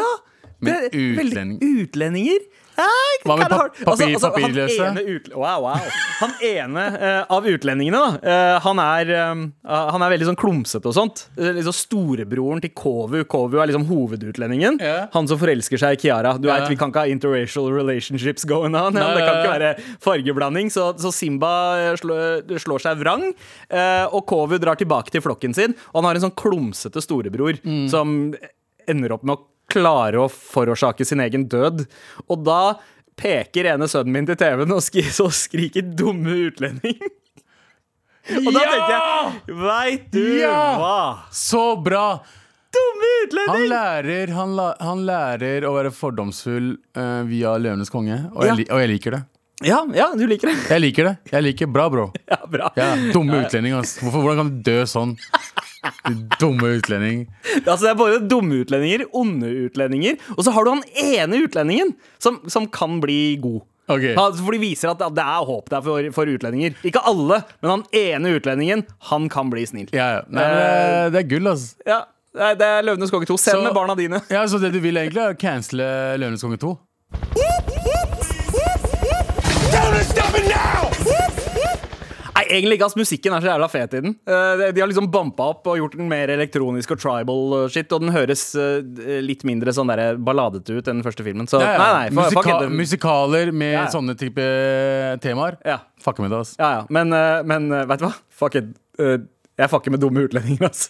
[SPEAKER 3] Men
[SPEAKER 2] det er veldig-
[SPEAKER 3] utlending
[SPEAKER 2] utlendinger? Nei,
[SPEAKER 3] Hva med
[SPEAKER 2] kan jeg
[SPEAKER 3] pap-
[SPEAKER 2] ha- altså,
[SPEAKER 3] papir-
[SPEAKER 2] altså, han
[SPEAKER 3] papirløse?
[SPEAKER 2] ene utle- Wow, wow. Han ene eh, av utlendingene, da. eh, han, er, eh, han er veldig sånn klumsete og sånt. Eh, liksom storebroren til Kovu. Kovu er liksom hovedutlendingen.
[SPEAKER 3] Ja.
[SPEAKER 2] Han som forelsker seg i Kiara. Du
[SPEAKER 3] Ja.
[SPEAKER 2] vet, Vi kan ikke ha interracial relationships going on. Ja.
[SPEAKER 3] Nei,
[SPEAKER 2] Det kan ikke
[SPEAKER 3] ja, ja.
[SPEAKER 2] være fargeblanding. Så, så Simba eh, slår, slår seg vrang, eh, og Kovu drar tilbake til flokken sin. Og han har en sånn klumsete storebror som ender opp med å klare å forårsake sin egen død. Og da peker ene sønnen min til TV-en og skri, så skriker 'dumme utlending'. Og da tenker jeg Veit du
[SPEAKER 3] Ja!
[SPEAKER 2] hva?
[SPEAKER 3] Så bra!
[SPEAKER 2] Dumme
[SPEAKER 3] Han
[SPEAKER 2] utlending!
[SPEAKER 3] lærer, han, la, han lærer å være fordomsfull eh, via Løvenes konge, og,
[SPEAKER 2] Ja.
[SPEAKER 3] jeg, li- og jeg liker det.
[SPEAKER 2] Ja, ja, du liker det?
[SPEAKER 3] Jeg liker det. Jeg liker Bra, bro.
[SPEAKER 2] Ja, bra.
[SPEAKER 3] Ja, dumme utlending, ass. Hvorfor, hvordan kan du dø sånn? Du dumme utlending.
[SPEAKER 2] Altså Det er både dumme utlendinger, onde utlendinger, og så har du han ene utlendingen som, som kan bli god.
[SPEAKER 3] Ok.
[SPEAKER 2] Han- For de viser at det er håp der for, for utlendinger. Ikke alle, men han ene utlendingen, han kan bli snill.
[SPEAKER 3] Ja, ja. Nei, men det,
[SPEAKER 2] Eh,
[SPEAKER 3] er- det er gull, ass.
[SPEAKER 2] Ja, nei, Det er Løvenes konge 2. Se den
[SPEAKER 3] Så-
[SPEAKER 2] med barna dine.
[SPEAKER 3] Ja, så det du vil egentlig, er å cancele Løvenes konge 2?
[SPEAKER 2] egentlig ikke, ass. Musikken er så jævla fet i den. Eh, de- De har liksom bampa opp og gjort den mer elektronisk og tribal og shit, og den høres eh, litt mindre sånn der balladete ut enn den første filmen. Så
[SPEAKER 3] Ja, ja.
[SPEAKER 2] nei, nei, fa- fuck
[SPEAKER 3] Musika
[SPEAKER 2] it.
[SPEAKER 3] musikaler med
[SPEAKER 2] Ja, ja.
[SPEAKER 3] sånne type temaer.
[SPEAKER 2] Ja.
[SPEAKER 3] Fucker med det, ass.
[SPEAKER 2] Ja, ja. Men, eh, men eh, vet du hva? Fuck it. Eh, Jeg fucker med dumme utlendinger, ass.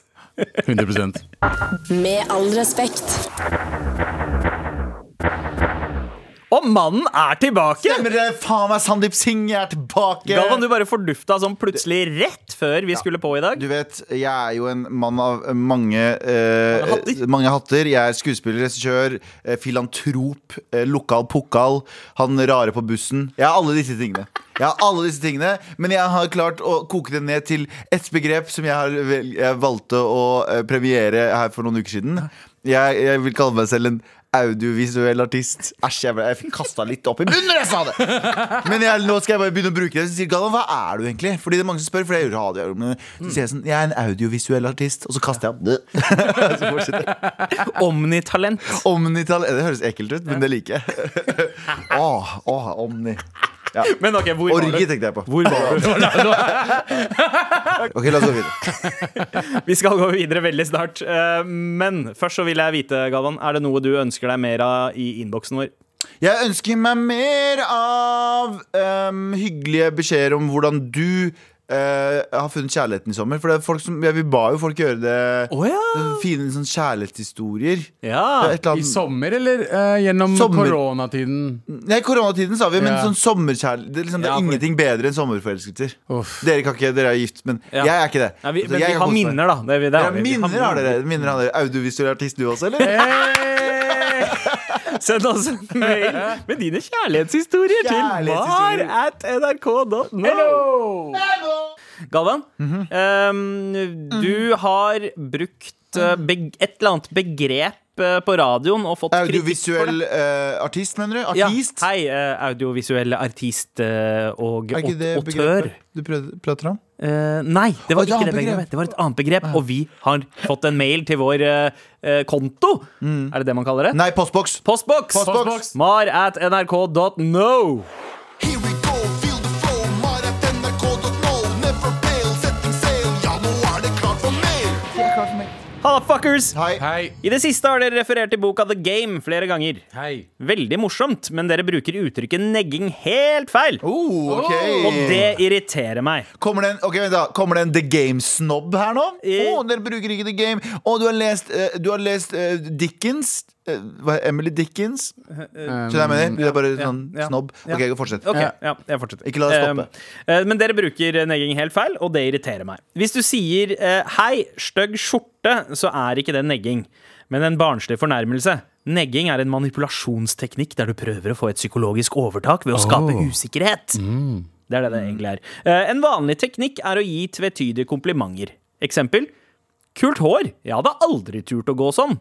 [SPEAKER 3] 100
[SPEAKER 4] Med all respekt.
[SPEAKER 2] Og mannen er tilbake!
[SPEAKER 6] Stemmer det? Faen meg, Sandeep Singh er tilbake!
[SPEAKER 2] Galvan, du bare fordufta sånn plutselig rett før vi skulle på i dag.
[SPEAKER 6] Du vet, jeg er jo en mann av mange, eh,
[SPEAKER 2] Mange hatter.
[SPEAKER 6] mange hatter. Jeg er skuespiller, regissør, eh, filantrop, eh, lokal pukkal, han rare på bussen. Jeg har alle disse tingene. Jeg har alle disse tingene, Men jeg har klart å koke det ned til ett begrep som jeg, har vel, jeg valgte å eh, premiere her for noen uker siden. Jeg, jeg vil kalle meg selv en audiovisuell artist. Æsj, jeg, ble- jeg fikk kasta litt opp i munnen når jeg sa det! Men jeg, nå skal jeg bare begynne å bruke det. Så sier Galvan, hva er du egentlig? Fordi det er mange som spør, for jeg gjør radio. Men så sier jeg sånn, jeg er en audiovisuell artist. Og så kaster jeg opp. Så fortsetter jeg.
[SPEAKER 2] Omnitalent.
[SPEAKER 6] Omnitall Det høres ekkelt ut, men det liker jeg. Åh, åh, omni. Ja.
[SPEAKER 2] Men ok, hvor var
[SPEAKER 6] Orgi
[SPEAKER 2] du?
[SPEAKER 6] tenkte jeg på.
[SPEAKER 2] Hvor var du?
[SPEAKER 6] Ok, la oss gå videre.
[SPEAKER 2] Vi skal gå videre veldig snart. Eh, Men først så vil jeg vite, Galvan, er det noe du ønsker deg mer av i innboksen vår?
[SPEAKER 6] Jeg ønsker meg mer av ehm, hyggelige beskjeder om hvordan du eh, har funnet kjærligheten i sommer. For det er folk som, ja, Vi ba jo folk gjøre det. Fine sånn kjærlighetshistorier.
[SPEAKER 2] Ja.
[SPEAKER 6] Et eller
[SPEAKER 3] I
[SPEAKER 6] annet-
[SPEAKER 3] sommer, eller eh, gjennom
[SPEAKER 6] Sommer.
[SPEAKER 3] koronatiden?
[SPEAKER 6] Nei, koronatiden sa vi, men
[SPEAKER 3] Ja.
[SPEAKER 6] sånn sommerkjærlighet Det, er liksom, det er
[SPEAKER 2] Ja, for-
[SPEAKER 6] ingenting bedre enn sommerforelskelser.
[SPEAKER 3] Uff.
[SPEAKER 6] Dere kan ikke, dere er gift, men
[SPEAKER 2] Ja.
[SPEAKER 6] jeg er ikke det.
[SPEAKER 2] Nei, vi,
[SPEAKER 6] Så
[SPEAKER 2] men
[SPEAKER 6] jeg
[SPEAKER 2] vi
[SPEAKER 6] kan
[SPEAKER 2] har
[SPEAKER 6] kose meg.
[SPEAKER 2] minner, da. Det, er vi- det
[SPEAKER 6] Dere
[SPEAKER 2] er
[SPEAKER 6] har
[SPEAKER 2] vi. Vi har
[SPEAKER 6] minner har dere. Minner har dere Audiovisuell artist, du også, eller?
[SPEAKER 2] Send oss en mail med dine kjærlighetshistorier til mar
[SPEAKER 6] Kjærlighetshistorier.
[SPEAKER 2] at nrk.no. Galvan,
[SPEAKER 6] Mhm.
[SPEAKER 2] ehm, du har brukt
[SPEAKER 6] Mhm.
[SPEAKER 2] eh, beg et eller annet begrep eh, på radioen og fått kritikk for det.
[SPEAKER 6] Audiovisuell eh, artist, mener du?
[SPEAKER 2] Ja,
[SPEAKER 6] Artist?
[SPEAKER 2] hei, eh, audiovisuell artist eh, og
[SPEAKER 6] er ikke det
[SPEAKER 2] aut- autør.
[SPEAKER 6] begrepet du prøvde- prater om?
[SPEAKER 2] Eh, nei, det var
[SPEAKER 6] Å, et
[SPEAKER 2] ikke det
[SPEAKER 6] annet
[SPEAKER 2] begrepet.
[SPEAKER 6] begrep.
[SPEAKER 2] Det var et annet begrep, og vi har fått en mail til vår eh, eh, konto. Er det det man kaller det?
[SPEAKER 6] Mm. Nei, postboks.
[SPEAKER 2] Postboks!
[SPEAKER 6] Postboks.
[SPEAKER 2] Mar at nrk.no.
[SPEAKER 7] Here we go, feel the flow, mar at nrk.no. Never fail, setting sail, ja nå er det klart for mer.
[SPEAKER 2] Halla, fuckers!
[SPEAKER 6] Hei.
[SPEAKER 3] Hei.
[SPEAKER 2] I det siste har dere referert til boka The Game flere ganger.
[SPEAKER 3] Hei.
[SPEAKER 2] Veldig morsomt, men dere bruker uttrykket negging helt feil.
[SPEAKER 6] Oh, ok.
[SPEAKER 2] Og det irriterer meg.
[SPEAKER 6] Kommer det en, ok, vent da. Kommer det en The Game-snobb her nå? Å,
[SPEAKER 2] Eh.
[SPEAKER 6] dere bruker ikke The Game. Å, du har lest, eh, du har lest eh, Dickens. Eh, hva er Emily Dickens? Skjønner du hva jeg mener? Det er bare sånn
[SPEAKER 2] Eh, ja,
[SPEAKER 6] snobb.
[SPEAKER 2] ja.
[SPEAKER 6] Ok, fortsett.
[SPEAKER 2] Ok, ja. jeg fortsetter.
[SPEAKER 6] Ikke la det stoppe.
[SPEAKER 2] Eh, eh, men dere bruker eh, negging helt feil, og det irriterer meg. Hvis du sier eh, 'hei, stygg skjorte', så er ikke det negging, men en barnslig fornærmelse. Negging er en manipulasjonsteknikk der du prøver å få et psykologisk overtak ved å skape usikkerhet.
[SPEAKER 6] Mm.
[SPEAKER 2] Det er det det egentlig er. Eh, en vanlig teknikk er å gi tvetydige komplimenter. Eksempel. Kult hår. Jeg hadde aldri turt å gå sånn.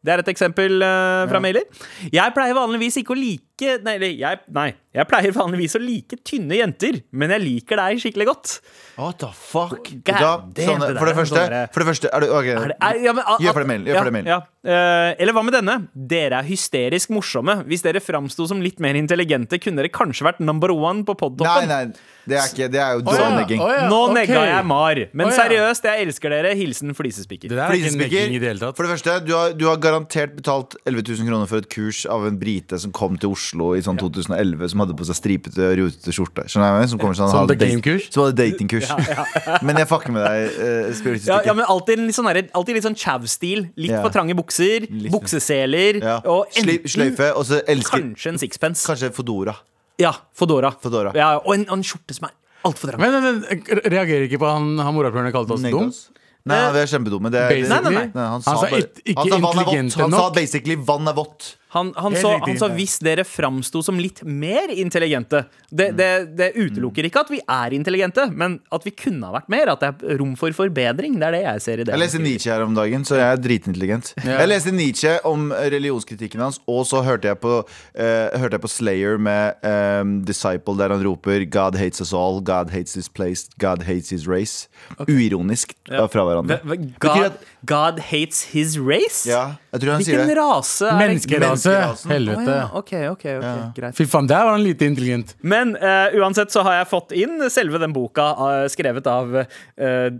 [SPEAKER 2] Det er et eksempel eh, fra mailer. Jeg pleier vanligvis ikke å like nei, eller jeg, nei, jeg pleier vanligvis å like tynne jenter, men jeg liker deg skikkelig godt.
[SPEAKER 6] What the fuck?
[SPEAKER 2] God
[SPEAKER 6] da,
[SPEAKER 2] damn,
[SPEAKER 6] sånne,
[SPEAKER 2] det
[SPEAKER 6] for, det
[SPEAKER 2] der er
[SPEAKER 6] første,
[SPEAKER 2] sånn derre-
[SPEAKER 6] for det første er det, ok.
[SPEAKER 2] Er det, er, ja, men,
[SPEAKER 6] Gjør for det mailen,
[SPEAKER 2] ja,
[SPEAKER 6] gjør for det mailen.
[SPEAKER 2] Ja. Eh, eller hva med denne? Dere er hysterisk morsomme. Hvis dere framsto som litt mer intelligente, kunne dere kanskje vært number one på
[SPEAKER 6] Nei,
[SPEAKER 2] podtoppen.
[SPEAKER 6] nei, det er, ikke, det er jo
[SPEAKER 3] Å ja,
[SPEAKER 6] dårnegging.
[SPEAKER 3] å ja,
[SPEAKER 2] Nå
[SPEAKER 3] ok.
[SPEAKER 2] negga jeg Mar. Men
[SPEAKER 3] Å, ja.
[SPEAKER 2] seriøst, jeg elsker dere. Hilsen flisespiker.
[SPEAKER 3] Det der er ikke negging i det hele tatt.
[SPEAKER 6] For det første, du har, du har garantert betalt 11 000 kroner for et kurs av en brite som kom til Oslo i sånn 2011, som hadde på seg stripete, rotete skjorte. Skjønner du hva jeg mener? Som, kommer sånn,
[SPEAKER 3] Som The
[SPEAKER 6] hadde date-
[SPEAKER 3] Game-kurs?
[SPEAKER 6] Som hadde datingkurs. men jeg fucker med deg, uh,
[SPEAKER 2] Ja, ja, men alltid, litt sånn der, alltid litt sånn chav-stil. Litt
[SPEAKER 6] Ja.
[SPEAKER 2] for trange bukser,
[SPEAKER 6] Litt- sånn.
[SPEAKER 2] bukseseler
[SPEAKER 6] Ja.
[SPEAKER 2] og
[SPEAKER 6] Sli-
[SPEAKER 2] enten
[SPEAKER 6] Sløyfe, og så elsker
[SPEAKER 2] kanskje en sixpence.
[SPEAKER 6] Kanskje Fodora.
[SPEAKER 2] Ja, Fodora.
[SPEAKER 6] Fedora.
[SPEAKER 2] Ja, og, en, og en skjorte som er altfor trang.
[SPEAKER 3] Men, men, men reagerer ikke på han, han morapuleren kalte oss dum?
[SPEAKER 6] Negas. Nei, nei, vi er kjempedum. Det, det,
[SPEAKER 3] Basically.
[SPEAKER 2] Nei, nei, nei.
[SPEAKER 6] han
[SPEAKER 3] Eh, Han
[SPEAKER 6] sa,
[SPEAKER 3] sa
[SPEAKER 6] bare,
[SPEAKER 3] it- ikke
[SPEAKER 6] han sa vann er vått.
[SPEAKER 3] intelligente
[SPEAKER 6] Han sa
[SPEAKER 3] nok.
[SPEAKER 6] basically vann er vått.
[SPEAKER 2] Han, han,
[SPEAKER 3] Helt
[SPEAKER 2] så,
[SPEAKER 3] riktig,
[SPEAKER 2] han sa
[SPEAKER 3] ja.
[SPEAKER 2] hvis dere framsto som litt mer intelligente det, det, det utelukker ikke at vi er intelligente, men at vi kunne ha vært mer. At det er rom for forbedring. Det er det jeg ser i det.
[SPEAKER 6] Jeg leste Nietzsche her om dagen, så jeg er dritintelligent. Jeg leste Nietzsche om eh, religionskritikken hans, og så hørte jeg på, eh, hørte jeg på Slayer med ehm, Disciple, der han roper 'God hates us all, God hates this place, God hates his race'. Uironisk eh, fra hverandre.
[SPEAKER 2] Hva- hva-
[SPEAKER 6] Betyr
[SPEAKER 2] God,
[SPEAKER 6] at-
[SPEAKER 2] God hates his race?
[SPEAKER 6] Ja. Jeg tror han sier
[SPEAKER 2] Hvilken
[SPEAKER 6] det.
[SPEAKER 2] rase er
[SPEAKER 3] Menneskerase.
[SPEAKER 6] Menneskerasen.
[SPEAKER 2] Å
[SPEAKER 3] Helvete.
[SPEAKER 2] ja, OK, OK. ok, greit.
[SPEAKER 3] Fy faen, der var han lite intelligent.
[SPEAKER 2] Men eh, uansett så har jeg fått inn selve den boka eh, skrevet av eh,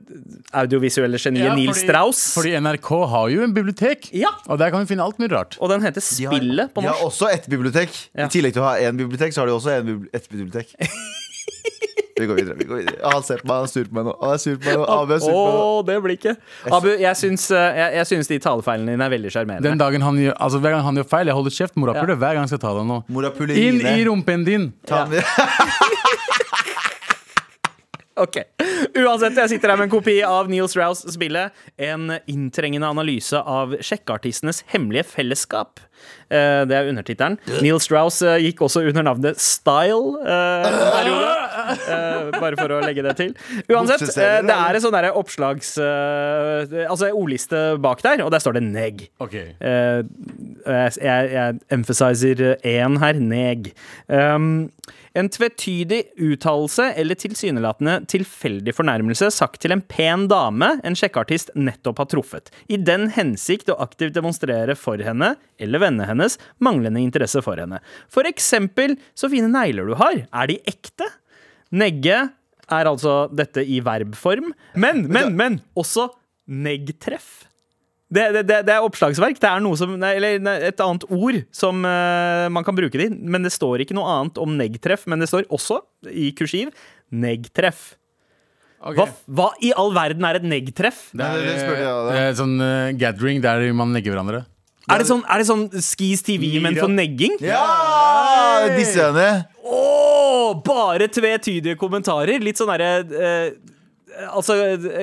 [SPEAKER 2] audiovisuelle geniet Neil Strauss.
[SPEAKER 3] Fordi NRK har jo en bibliotek,
[SPEAKER 2] Ja.
[SPEAKER 3] og der kan vi finne alt mulig rart.
[SPEAKER 2] og den heter
[SPEAKER 6] De har-
[SPEAKER 2] Spillet på
[SPEAKER 6] De har
[SPEAKER 2] norsk.
[SPEAKER 6] også ett bibliotek.
[SPEAKER 2] Ja.
[SPEAKER 6] I tillegg til å ha én bibliotek, så har de også en bibli ett bibliotek. Vi går videre. vi går videre Å, Han ser på meg, han er sur på meg nå. Han er sur på meg nå. Abu er sur på meg nå.
[SPEAKER 2] Åh, det blir ikke Abu, jeg syns, eh, jeg, jeg syns de talefeilene dine er veldig sjarmerende.
[SPEAKER 3] Den dagen han gjør, altså Hver gang han gjør feil, jeg holder kjeft. Mora
[SPEAKER 2] Ja.
[SPEAKER 3] puler hver gang jeg skal ta deg nå.
[SPEAKER 6] Morapulerine.
[SPEAKER 3] Inn i rumpen din!
[SPEAKER 6] Ta den-
[SPEAKER 2] Ok, Uansett, jeg sitter her med en kopi av Neil Strauss-spillet. En inntrengende analyse av sjekkeartistenes hemmelige fellesskap. Eh, Det er undertittelen. Neil Strauss eh, gikk også under navnet Style. eh, en periode. Eh, Bare for å legge det til. Uansett, eh,
[SPEAKER 6] Bukseserier,
[SPEAKER 2] det er
[SPEAKER 6] eller?
[SPEAKER 2] en sånn derre oppslags... eh, det- Altså ordliste bak der, og der står det neg. Eh, jeg, jeg, jeg emphasizer én her, neg. Um, en tvetydig uttalelse eller tilsynelatende tilfeldig fornærmelse sagt til en pen dame en sjekkeartist nettopp har truffet, i den hensikt å aktivt demonstrere for henne eller vennene hennes manglende interesse for henne. For eksempel så fine negler du har, er de ekte? Negge er altså dette i verbform, men, men, men også neggtreff. Det, det, det, det er oppslagsverk. Det er noe som, nei, eller nei, et annet ord som eh, man kan bruke det i. Men det står ikke noe annet om neggtreff. Men det står også, i kursiv, neggtreff.
[SPEAKER 3] Ok.
[SPEAKER 2] Hva, hva i all verden er et neggtreff?
[SPEAKER 3] Det
[SPEAKER 6] Nei,
[SPEAKER 3] er,
[SPEAKER 6] det spør jeg av deg.
[SPEAKER 3] eh, eh, sånn eh, gathering der man legger hverandre.
[SPEAKER 2] Er det sånn, er det sånn Skis TV, men for negging?
[SPEAKER 6] Ja! Disse henne.
[SPEAKER 2] Åh, bare tvetydige kommentarer. Litt sånn derre eh, Altså,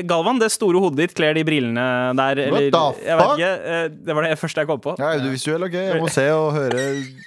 [SPEAKER 2] Galvan, det store hodet ditt kler de brillene der. Eller,
[SPEAKER 6] the
[SPEAKER 2] jeg vet
[SPEAKER 6] fuck?
[SPEAKER 2] ikke, eh, det var det første jeg kom på.
[SPEAKER 6] Jeg er audiovisuell, OK? Jeg må se og høre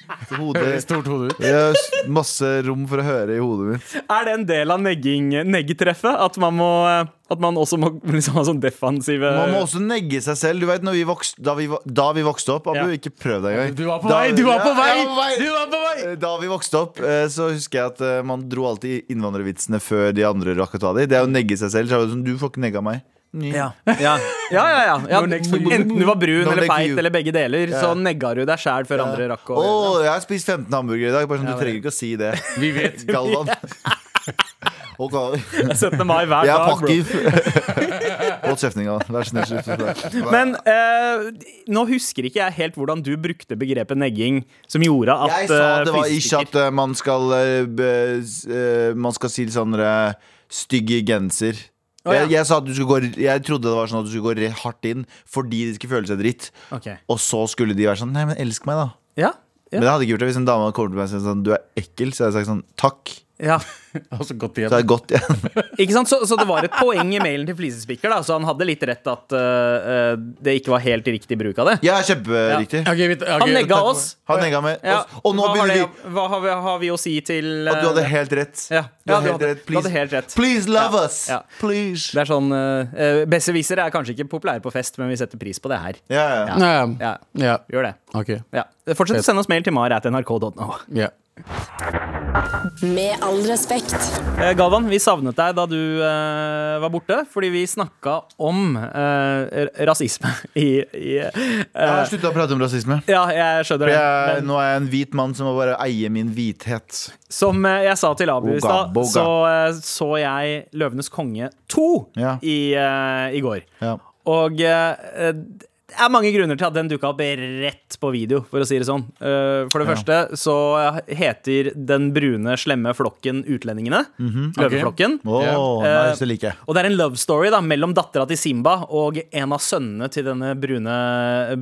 [SPEAKER 3] Høres
[SPEAKER 6] hodet
[SPEAKER 3] stort hode ut.
[SPEAKER 6] Jeg har s- masse rom for å høre i hodet mitt.
[SPEAKER 2] Er det en del av negging, neggetreffet? At man, må, at man også må liksom ha sånn defensive
[SPEAKER 6] Man må også negge seg selv. Du vet, når vi vokste, da, vi, va- da vi vokste opp Abu,
[SPEAKER 2] Ja.
[SPEAKER 6] ikke prøv deg engang.
[SPEAKER 3] Du var på
[SPEAKER 6] Da-
[SPEAKER 3] vei! Du var på
[SPEAKER 6] Ja,
[SPEAKER 3] vei!
[SPEAKER 6] jeg var på vei.
[SPEAKER 3] Du var på vei!
[SPEAKER 6] Da vi vokste opp, eh, så husker jeg at eh, man dro alltid innvandrervitsene før de andre rakk å ta dem. Det er å negge seg selv. Så er det sånn, du får ikke negga meg.
[SPEAKER 2] ja. Ja. ja, ja, ja. ja. Enten du var brun
[SPEAKER 6] No
[SPEAKER 2] eller
[SPEAKER 6] neck for
[SPEAKER 2] feit
[SPEAKER 6] you.
[SPEAKER 2] eller begge deler, så negga du deg sjæl før andre rakk
[SPEAKER 6] Å,
[SPEAKER 2] å
[SPEAKER 6] jeg har spist 15 hamburgere i dag. Bare sånn,
[SPEAKER 2] Ja,
[SPEAKER 6] Du
[SPEAKER 2] vel.
[SPEAKER 6] trenger ikke å si det.
[SPEAKER 3] Vi vet.
[SPEAKER 6] Galvan. Og Galvan.
[SPEAKER 2] 17. mai hver
[SPEAKER 6] Jeg er
[SPEAKER 2] dag, bro.
[SPEAKER 6] pakker. Hold kjeften, Galvan. Vær så snill, slutt å snakke.
[SPEAKER 2] Men eh, nå husker ikke jeg helt hvordan du brukte begrepet negging, som gjorde at
[SPEAKER 6] Jeg sa at det var
[SPEAKER 2] eh,
[SPEAKER 6] ikke at eh, man skal eh, be- s- eh, Man skal si sånn eh, stygge genser.
[SPEAKER 2] Å, ja.
[SPEAKER 6] jeg, jeg sa at du skulle gå r- Jeg trodde det var sånn at du skulle gå re- hardt inn fordi de skulle føle seg dritt.
[SPEAKER 2] Ok.
[SPEAKER 6] Og så skulle de være sånn Nei, men elsk meg, da.
[SPEAKER 2] Ja, ja,
[SPEAKER 6] Men jeg hadde ikke gjort det hvis en dame hadde kommet til meg og sagt sånn Du er ekkel. Så hadde jeg sagt sånn Takk.
[SPEAKER 2] ja.
[SPEAKER 3] Og så godt
[SPEAKER 6] Så
[SPEAKER 3] igjen.
[SPEAKER 6] er det godt igjen.
[SPEAKER 2] Ikke sant? Så, så det var et poeng i mailen til Flisespikker, da, så han hadde litt rett at eh, eh, det ikke var helt riktig bruk av det.
[SPEAKER 6] Ja, kjemperiktig.
[SPEAKER 3] Ok, vi- ok,
[SPEAKER 2] Han negga
[SPEAKER 3] takk.
[SPEAKER 2] oss.
[SPEAKER 6] Han negga meg.
[SPEAKER 2] Ja.
[SPEAKER 6] Og, og nå
[SPEAKER 2] hva, har
[SPEAKER 6] begynner vi
[SPEAKER 2] det, hva har vi, har vi å si til
[SPEAKER 6] At du hadde
[SPEAKER 2] eh,
[SPEAKER 6] helt rett.
[SPEAKER 2] Ja.
[SPEAKER 6] Du
[SPEAKER 2] Ja, du
[SPEAKER 6] hadde helt
[SPEAKER 2] hadde- du
[SPEAKER 6] rett.
[SPEAKER 2] hadde
[SPEAKER 6] Please,
[SPEAKER 2] helt rett.
[SPEAKER 6] please love
[SPEAKER 2] Ja.
[SPEAKER 6] us.
[SPEAKER 2] Ja.
[SPEAKER 6] Please.
[SPEAKER 2] Det er sånn uh, Besserwissere er kanskje ikke populære på fest, men vi setter pris på det her.
[SPEAKER 6] Ja, ja.
[SPEAKER 2] Ja.
[SPEAKER 3] Ja.
[SPEAKER 2] Ja,
[SPEAKER 3] ja.
[SPEAKER 2] gjør det.
[SPEAKER 3] Ok.
[SPEAKER 2] Ja. Fortsett å sende oss mail til mar.nrk.no.
[SPEAKER 3] Ja.
[SPEAKER 4] Med all respekt.
[SPEAKER 2] Eh, Galvan, vi savnet deg da du eh, var borte, fordi vi snakka om eh, rasisme i, i eh,
[SPEAKER 6] Jeg har slutta å prate om rasisme.
[SPEAKER 2] Ja, jeg skjønner
[SPEAKER 6] For
[SPEAKER 2] det.
[SPEAKER 6] jeg,
[SPEAKER 2] Men-
[SPEAKER 6] nå er jeg en hvit mann som må bare eie min hvithet.
[SPEAKER 2] Som eh, jeg sa til Abu i
[SPEAKER 6] Boga,
[SPEAKER 2] stad,
[SPEAKER 6] boga.
[SPEAKER 2] så eh, så jeg Løvenes konge 2
[SPEAKER 6] Ja.
[SPEAKER 2] i, eh, i går.
[SPEAKER 6] Ja.
[SPEAKER 2] Og eh, det er mange grunner til at den dukka opp rett på video, for å si det sånn. Eh, for det første så heter den brune, slemme flokken Utlendingene. Løveflokken.
[SPEAKER 6] Åh,
[SPEAKER 2] Ja. Eh,
[SPEAKER 6] nice, det liker jeg.
[SPEAKER 2] Og det er en love story da, mellom dattera til Simba og en av sønnene til denne brune,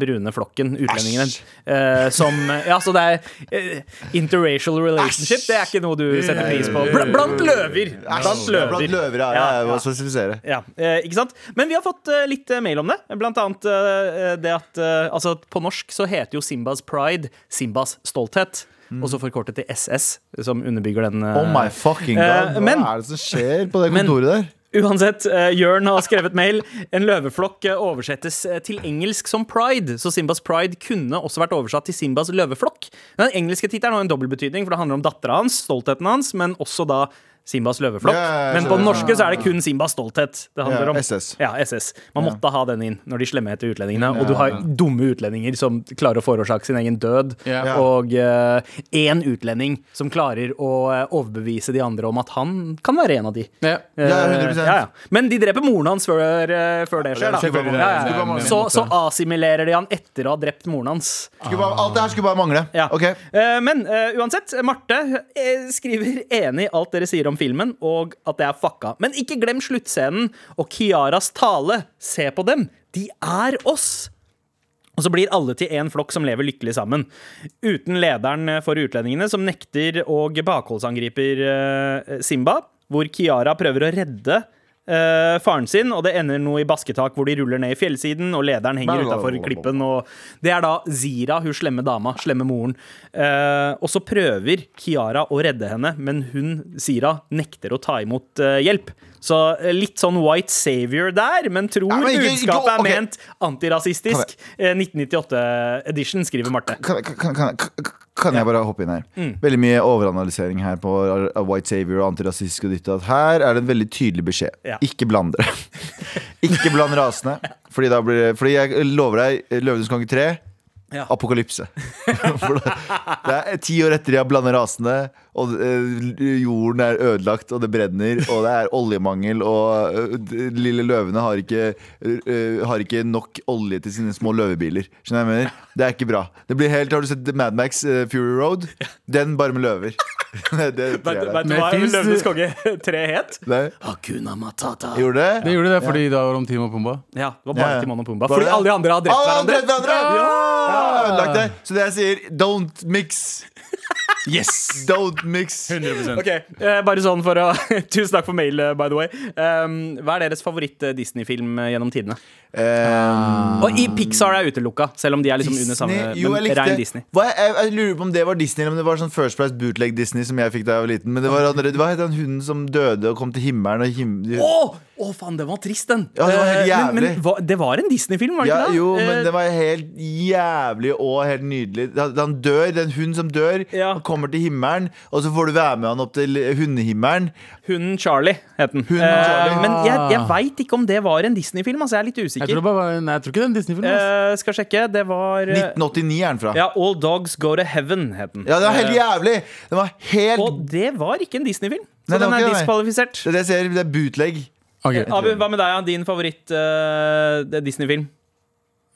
[SPEAKER 2] brune flokken, utlendingene. Eh, som, ja, så det er eh, interracial relationship. Det er ikke noe du setter pris på. Bl blant løver! Blant løver.
[SPEAKER 6] Blant løver, ja. ja,
[SPEAKER 2] Ja,
[SPEAKER 6] Jeg må
[SPEAKER 2] ja.
[SPEAKER 6] spesifisere.
[SPEAKER 2] Ja, eh, ikke sant? Men vi har fått eh, litt eh, mail om det. Blant annet eh, det at eh, altså, på norsk så heter jo Simbas pride Simbas stolthet. Og så forkortet til SS, som underbygger den. eh,
[SPEAKER 6] Mm. Oh my fucking god,
[SPEAKER 2] Eh,
[SPEAKER 6] hva
[SPEAKER 2] men-
[SPEAKER 6] er det som skjer på det kontoret der?
[SPEAKER 2] Uansett, uh, Jørn har skrevet mail. En løveflokk eh, oversettes eh, til engelsk som pride, så Simbas pride kunne også vært oversatt til Simbas løveflokk. Den engelske tittelen har en dobbeltbetydning, for det handler om dattera hans, stoltheten hans, men også da Simbas løveflokk.
[SPEAKER 6] Ja, ja, ja,
[SPEAKER 2] Men på
[SPEAKER 6] jeg
[SPEAKER 2] den
[SPEAKER 6] skjønner.
[SPEAKER 2] norske så er det kun Simbas stolthet det handler
[SPEAKER 6] Ja,
[SPEAKER 2] om.
[SPEAKER 6] SS.
[SPEAKER 2] Ja, SS. Man måtte ha den inn når de slemme heter utlendingene. Og du har dumme utlendinger som klarer å forårsake sin egen død.
[SPEAKER 3] Ja.
[SPEAKER 2] Og én utlending som klarer å eh, overbevise de andre om at han kan være en av de.
[SPEAKER 3] Ja.
[SPEAKER 2] Eh,
[SPEAKER 6] Ja, 100%.
[SPEAKER 2] ja, ja. Men de dreper moren hans før, eh, før det skjer, da.
[SPEAKER 6] Skulle bare-
[SPEAKER 2] Ja, ja,
[SPEAKER 3] skulle
[SPEAKER 2] ja.
[SPEAKER 3] bare-
[SPEAKER 2] Så, så assimilerer de han etter å ha drept moren hans.
[SPEAKER 6] Skulle bare, alt det her skulle bare mangle.
[SPEAKER 2] Ja.
[SPEAKER 6] Ok.
[SPEAKER 2] Eh, men eh, uansett, Marte eh, skriver enig i alt dere sier om filmen, og at det er fucka. Men ikke glem sluttscenen og Kiaras tale. Se på dem. De er oss. Og så blir alle til én flokk som lever lykkelig sammen. Uten lederen eh, for utlendingene, som nekter og bakholdsangriper eh, Simba. Hvor Kiara prøver å redde eh, faren sin, og det ender noe i basketak hvor de ruller ned i fjellsiden, og lederen henger utafor klippen. Og det er da Zira, hun slemme dama, slemme moren. Eh, og så prøver Kiara å redde henne, men hun, Zira, nekter å ta imot eh, hjelp. Så eh, litt sånn white savior der, men tror
[SPEAKER 6] Ja, men ikke- ikke-
[SPEAKER 2] budskapet er
[SPEAKER 6] ok.
[SPEAKER 2] ment antirasistisk. Eh, 1998-edition, skriver Marte.
[SPEAKER 6] Kan, kan, kan, kan, kan jeg bare hoppe inn her?
[SPEAKER 2] Mm.
[SPEAKER 6] Veldig mye overanalysering her på uh, White Savior og antirasistisk og ditt og datt. Her er det en veldig tydelig beskjed.
[SPEAKER 2] Ja.
[SPEAKER 6] Ikke bland dere. ikke bland rasene. Fordi, da blir det, fordi jeg lover deg, eh, Løvenes konge 3
[SPEAKER 2] Ja.
[SPEAKER 6] Apokalypse. For det, det er ti år etter de har blanda rasene, og eh, jorden er ødelagt, og det brenner, og det er oljemangel, og eh, de lille løvene har ikke, eh, har ikke nok olje til sine små løvebiler. Skjønner du hva jeg mener? Det er ikke bra. Det blir helt, Har du sett Mad Max eh, Fury Road? Den bare med løver. det tror jeg det er.
[SPEAKER 3] du hva Men finnes- Løvenes
[SPEAKER 2] konge 3 het?
[SPEAKER 6] Nei,
[SPEAKER 2] Hakuna Matata.
[SPEAKER 6] gjorde det?
[SPEAKER 3] Det gjorde det fordi da var det om Timo og Pumba.
[SPEAKER 2] Ja, det var
[SPEAKER 6] Ja,
[SPEAKER 2] bare
[SPEAKER 6] ja.
[SPEAKER 2] Timon og Pumba.
[SPEAKER 6] Var
[SPEAKER 2] Fordi
[SPEAKER 6] det det?
[SPEAKER 2] alle de andre har drept
[SPEAKER 6] Alle har
[SPEAKER 2] hverandre.
[SPEAKER 6] drept hverandre! Ja, ødelagt det. Så det jeg sier, don't mix.
[SPEAKER 3] Yes!
[SPEAKER 6] Don't mix.
[SPEAKER 3] 100
[SPEAKER 2] Ok, eh, bare sånn for å Tusen takk for mail, eh, by the way. Um, hva er deres favoritt-Disney-film eh, gjennom tidene?
[SPEAKER 6] Um,
[SPEAKER 2] Og i Pixar er utelukka, selv om de er liksom
[SPEAKER 6] Disney?
[SPEAKER 2] under samme
[SPEAKER 6] jo, jeg
[SPEAKER 2] men
[SPEAKER 6] likte
[SPEAKER 2] rein Disney.
[SPEAKER 6] Hva, jeg, jeg lurer på om det var Disney, eller om det var sånn First Price Bootleg Disney som jeg fikk da jeg var liten. Men det var andre, hva het den hunden som døde og kom til himmelen og him
[SPEAKER 2] Å, å, faen, den var trist, den!
[SPEAKER 6] Ja, det var helt
[SPEAKER 2] Eh, men,
[SPEAKER 6] jævlig.
[SPEAKER 2] men hva, det var en Disney-film, var det
[SPEAKER 6] ja,
[SPEAKER 2] ikke det?
[SPEAKER 6] jo, men
[SPEAKER 2] Eh,
[SPEAKER 6] det var helt jævlig og helt nydelig. Han han dør, den hunden som dør,
[SPEAKER 2] Ja.
[SPEAKER 6] han kommer til himmelen, og så får du være med han opp til hundehimmelen.
[SPEAKER 2] Hunden Charlie het den.
[SPEAKER 6] Hunden Charlie.
[SPEAKER 2] Eh, men jeg, jeg veit ikke om det var en Disney-film. Altså, jeg er litt
[SPEAKER 3] Jeg
[SPEAKER 2] usikker.
[SPEAKER 3] tror, det bare, var- nei, jeg tror ikke det er en Disney-film. ass.
[SPEAKER 2] Eh, skal sjekke. Det var eh,
[SPEAKER 6] 1989 er han fra. Ja.
[SPEAKER 2] Ja, All Dogs Go to Heaven het den.
[SPEAKER 6] det var helt jævlig! Det var helt
[SPEAKER 2] Og det var ikke en Disney-film. Så
[SPEAKER 6] Nei, det
[SPEAKER 2] den
[SPEAKER 6] var
[SPEAKER 2] er
[SPEAKER 6] ikke det, nei.
[SPEAKER 2] diskvalifisert.
[SPEAKER 6] Det er det jeg ser, det er bootleg.
[SPEAKER 3] Ok,
[SPEAKER 2] Abu, hva med deg? ja? Din eh, favoritt-Disney-film?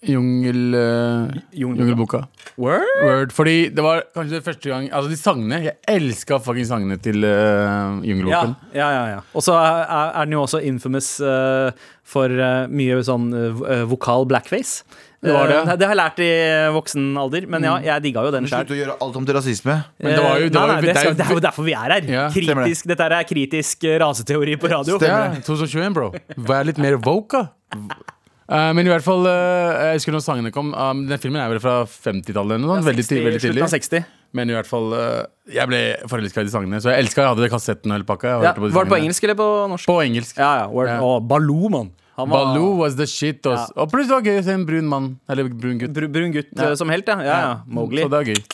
[SPEAKER 3] Jungel, eh, Jungelboka.
[SPEAKER 2] Word?
[SPEAKER 3] Word. Fordi det var kanskje det første gang Altså, de sangene Jeg elska fucking sangene til eh,
[SPEAKER 2] Ja,
[SPEAKER 3] Jungelboken.
[SPEAKER 2] ja, ja. ja. Og så er, er den jo også infamous eh, for eh, mye sånn eh, vo- eh, vokal blackface.
[SPEAKER 3] Det var det.
[SPEAKER 2] Eh, det har jeg lært i eh, voksen alder, men
[SPEAKER 6] Mm.
[SPEAKER 2] ja, jeg digga jo den sjøl.
[SPEAKER 6] Slutt å gjøre alt om til rasisme.
[SPEAKER 3] Men det var jo- det
[SPEAKER 2] nei,
[SPEAKER 3] var jo-
[SPEAKER 2] eh, nei, det,
[SPEAKER 3] det er
[SPEAKER 2] skal,
[SPEAKER 3] jo-
[SPEAKER 2] det er jo derfor vi er her.
[SPEAKER 3] Ja,
[SPEAKER 6] stemmer det.
[SPEAKER 2] kritisk, dette her er kritisk eh, raseteori på radio.
[SPEAKER 3] Ja, 2021, bro. Vær litt mer voka. Eh, men i hvert fall, eh, jeg husker når sangene kom. Um, den filmen er vel fra 50-tallet eller noe sånt. veldig, tidlig- veldig
[SPEAKER 2] Slutten
[SPEAKER 3] tidlig.
[SPEAKER 2] av 60.
[SPEAKER 3] Men i hvert fall, eh, jeg ble forelska i de sangene. Så jeg elska jeg hadde kassetten og hele pakka. Jeg
[SPEAKER 2] Ja,
[SPEAKER 3] hørte på de
[SPEAKER 2] var det på
[SPEAKER 3] sangene.
[SPEAKER 2] engelsk eller på norsk?
[SPEAKER 3] På engelsk.
[SPEAKER 2] Ja, ja. Word.
[SPEAKER 3] Ja.
[SPEAKER 2] Å, Baloo, mann. Han var-
[SPEAKER 3] Baloo was the shit. ass. Og plutselig var det gøy å se en brun mann. Eller brun gutt.
[SPEAKER 2] Br brun gutt eh, som helt, ja. ja, ja. Mowgli.
[SPEAKER 3] Så det er gøy.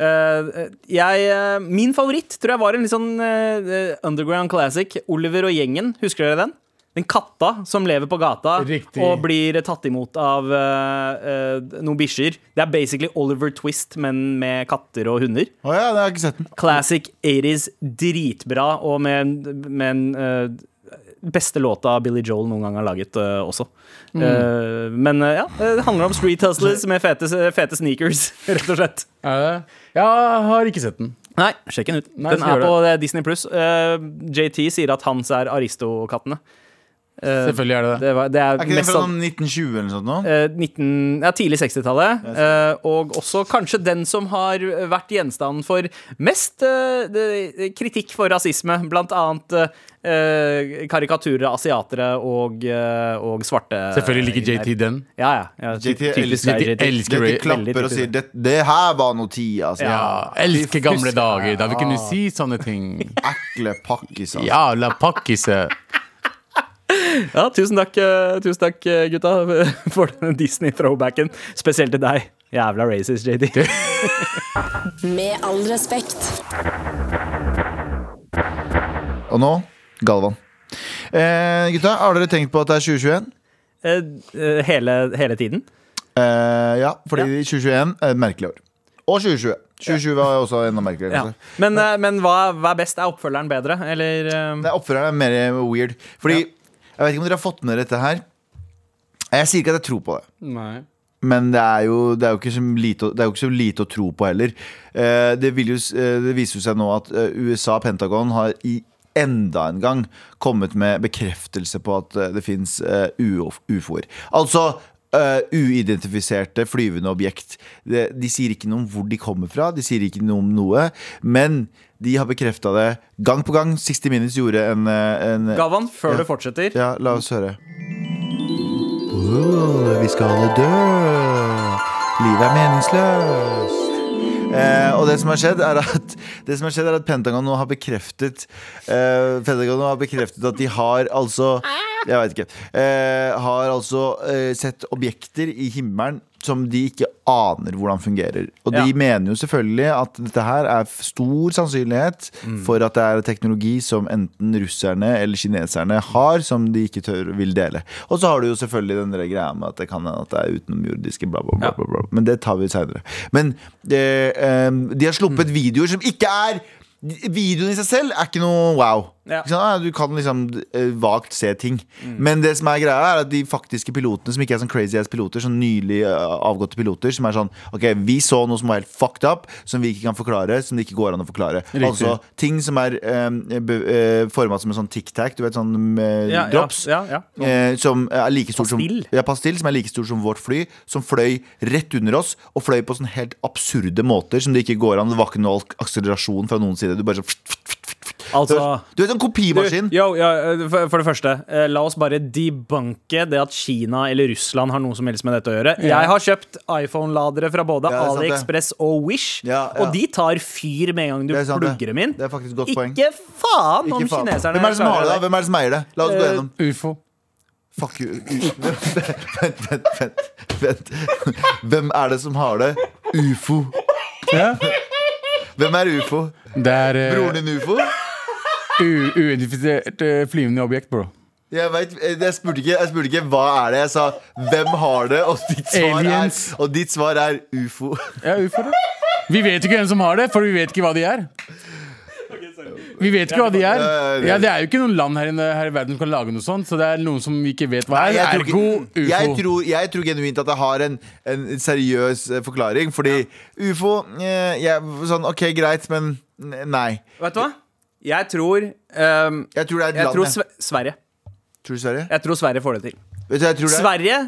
[SPEAKER 2] Eh, eh, jeg, eh, min favoritt tror jeg var en litt sånn eh, eh, underground classic. Oliver og gjengen, husker dere den? Den katta som lever på gata
[SPEAKER 3] Riktig.
[SPEAKER 2] og blir tatt imot av eh, eh, noen bikkjer. Det er basically Oliver Twist, men med katter og hunder.
[SPEAKER 6] Å ja, det har jeg ikke sett den.
[SPEAKER 2] Classic 80s, dritbra, og med, en- med en eh, beste låta Billy Joel noen gang har laget eh, også. Eh, men eh, ja, det handler om street hustlers med fete, fete sneakers, rett og slett.
[SPEAKER 3] Er det? Jeg har ikke sett den.
[SPEAKER 2] Nei, sjekk den ut.
[SPEAKER 3] Nei,
[SPEAKER 2] den
[SPEAKER 3] skal
[SPEAKER 2] er
[SPEAKER 3] gjøre
[SPEAKER 2] på eh, Disney Pluss. JT sier at hans er Aristokattene. Eh,
[SPEAKER 3] Selvfølgelig er det det.
[SPEAKER 2] det, var, det er,
[SPEAKER 6] Er ikke den
[SPEAKER 2] mest
[SPEAKER 6] fra
[SPEAKER 2] sånn
[SPEAKER 6] sånn 1920 eller noe sånt? nå?
[SPEAKER 2] eh, 19, ja, tidlig 60-tallet. eh, og også kanskje den som har vært gjenstand for mest eh, det- kritikk for rasisme. Blant annet eh, eh, karikaturer av asiatere og, eh, og svarte.
[SPEAKER 3] Selvfølgelig
[SPEAKER 6] Eh,
[SPEAKER 3] liker JT den.
[SPEAKER 2] Ja, ja. ja ty-
[SPEAKER 6] JT
[SPEAKER 2] typisk
[SPEAKER 6] elsker-
[SPEAKER 2] deg,
[SPEAKER 3] JT
[SPEAKER 2] JT.
[SPEAKER 3] elsker
[SPEAKER 6] De
[SPEAKER 3] Ray.
[SPEAKER 2] Veldig
[SPEAKER 6] klapper og
[SPEAKER 2] typisk.
[SPEAKER 6] sier det, 'det her var noe tid', altså.
[SPEAKER 3] Ja, elsker gamle dager da vi kunne si sånne ting.
[SPEAKER 6] Ekle pakkis, altså.
[SPEAKER 3] Jævla pakkise.
[SPEAKER 2] Ja, tusen takk, eh, tusen takk eh, gutta, for den Disney-throwbacken. Spesielt til deg. Jævla racist, JD.
[SPEAKER 4] Med all respekt.
[SPEAKER 6] Og nå Galvan. Eh, gutta, har dere tenkt på at det er 2021?
[SPEAKER 2] Eh, eh, hele, hele tiden.
[SPEAKER 6] Eh, ja, fordi 2021 er et merkelig år. Og 2020. 2020 var også enda merkeligere.
[SPEAKER 2] Ja.
[SPEAKER 6] kanskje.
[SPEAKER 2] Men, eh, men hva, hva er best? Er oppfølgeren bedre, eller eh,
[SPEAKER 6] Nei, Oppføreren er mer weird. Fordi, Jeg vet ikke om dere har fått med dere dette her. Jeg sier ikke at jeg tror på det.
[SPEAKER 3] Nei.
[SPEAKER 6] Men det er jo, det er jo, ikke, så lite, å- det er jo ikke så lite å tro på heller. Eh, det, vil jo, s- eh, det viser jo seg nå at eh, USA, Pentagon, har i enda en gang kommet med bekreftelse på at eh, det fins ufoer. Altså eh, uidentifiserte flyvende objekt. De, de sier ikke noe om hvor de kommer fra, de sier ikke noe om noe. Men de har bekrefta det gang på gang. 60 Minutes gjorde en, eh, en
[SPEAKER 2] Galvan, før
[SPEAKER 6] Ja.
[SPEAKER 2] du fortsetter.
[SPEAKER 6] ja, la oss høre. vi skal alle dø. Livet er meningsløst. Eh, og det som har skjedd, er at, det som har skjedd er at Pentagon nå har bekreftet eh, Pentagon nå har bekreftet at de har altså Jeg vet ikke. Eh, har altså eh, sett objekter i himmelen som de ikke aner hvordan fungerer. Og de
[SPEAKER 2] Ja.
[SPEAKER 6] mener jo selvfølgelig at dette her er f- stor sannsynlighet for at det er teknologi som enten russerne eller kineserne har, som de ikke tør vil dele. Og så har du jo selvfølgelig den der greia med at det kan hende at det er utenomjordiske, bla, bla, bla.
[SPEAKER 2] Ja.
[SPEAKER 6] bla, bla. Men det tar vi seinere. Men eh, eh, de
[SPEAKER 2] Mm.
[SPEAKER 6] har sluppet videoer som ikke er Videoen i seg selv er ikke noe wow.
[SPEAKER 2] Ja.
[SPEAKER 6] Ikke sant? Ja, Du kan liksom eh, vagt se ting.
[SPEAKER 2] Mm.
[SPEAKER 6] Men det som er greia er at de faktiske pilotene, som ikke er sånn crazy ass piloter, sånn nylig eh, avgåtte piloter, som er sånn OK, vi så noe som var helt fucked up, som vi ikke kan forklare, som det ikke går an å forklare. Altså ting som er eh, be- eh, forma som en sånn tic-tac, du vet sånn eh,
[SPEAKER 2] Ja, ja,
[SPEAKER 6] drops.
[SPEAKER 2] ja, ja.
[SPEAKER 6] Eh, som er like stor
[SPEAKER 2] Pastill?
[SPEAKER 6] som ja, Pastill, som er like stor som vårt fly, som fløy rett under oss, og fløy på sånn helt absurde måter som det ikke går an. Det var ikke noe akselerasjon fra noen side. Du bare sånn
[SPEAKER 2] Altså
[SPEAKER 6] Du vet, en kopimaskin.
[SPEAKER 2] Du, yo, ja, for, for det første, eh, la oss bare debunke det at Kina eller Russland har noe som helst med dette å gjøre. Jeg har kjøpt iPhone-ladere fra både
[SPEAKER 6] Ja, det er sant det.
[SPEAKER 2] AliExpress og Wish,
[SPEAKER 6] Ja, ja.
[SPEAKER 2] og de tar fyr med en gang du
[SPEAKER 6] Det er sant det.
[SPEAKER 2] plugger dem inn.
[SPEAKER 6] Det er faktisk et godt poeng.
[SPEAKER 2] Ikke faen om
[SPEAKER 6] Ikke faen.
[SPEAKER 2] kineserne
[SPEAKER 6] Hvem er det som har det, da?
[SPEAKER 2] klarer
[SPEAKER 6] Hvem er det som eier det? La oss gå
[SPEAKER 2] Eh,
[SPEAKER 6] gjennom.
[SPEAKER 3] Uh, Ufo.
[SPEAKER 6] Fuck you. Vent, vent, vent. vent. Hvem er det som har det? Ufo.
[SPEAKER 3] Ja.
[SPEAKER 6] Hvem er ufo?
[SPEAKER 3] Det er eh,
[SPEAKER 6] Broren din ufo?
[SPEAKER 3] u- uidentifisert eh, flyvende objekt, bro.
[SPEAKER 6] Jeg, vet, jeg, spurte ikke, jeg spurte ikke hva er det. Jeg sa hvem har det, og ditt svar, er,
[SPEAKER 3] Aliens.
[SPEAKER 6] og ditt svar er ufo.
[SPEAKER 3] Ja, ufo, da. Vi vet ikke hvem som har det, for vi vet ikke hva de er. Vi vet ikke hva de er.
[SPEAKER 6] Ja, ja, ja.
[SPEAKER 3] Ja, Det er jo ikke noen land her, inne, her i verden som kan lage noe sånt, så det er noen som vi ikke vet hva er.
[SPEAKER 6] jeg,
[SPEAKER 3] Ergo
[SPEAKER 6] tror ikke, jeg,
[SPEAKER 3] ufo.
[SPEAKER 6] tror, jeg tror genuint at det har en, en seriøs eh, forklaring. Fordi ufo eh, jeg, Sånn, OK, greit, men n- nei.
[SPEAKER 2] det. Vet du hva? Jeg tror ehm,
[SPEAKER 6] Jeg tror det er et
[SPEAKER 2] Jeg tror
[SPEAKER 6] land.
[SPEAKER 2] Sve
[SPEAKER 6] jeg.
[SPEAKER 2] Sverige.
[SPEAKER 6] Tror du Sverige?
[SPEAKER 2] Jeg tror Sverige får det til.
[SPEAKER 6] Vet du, hva jeg tror det er
[SPEAKER 2] Sverige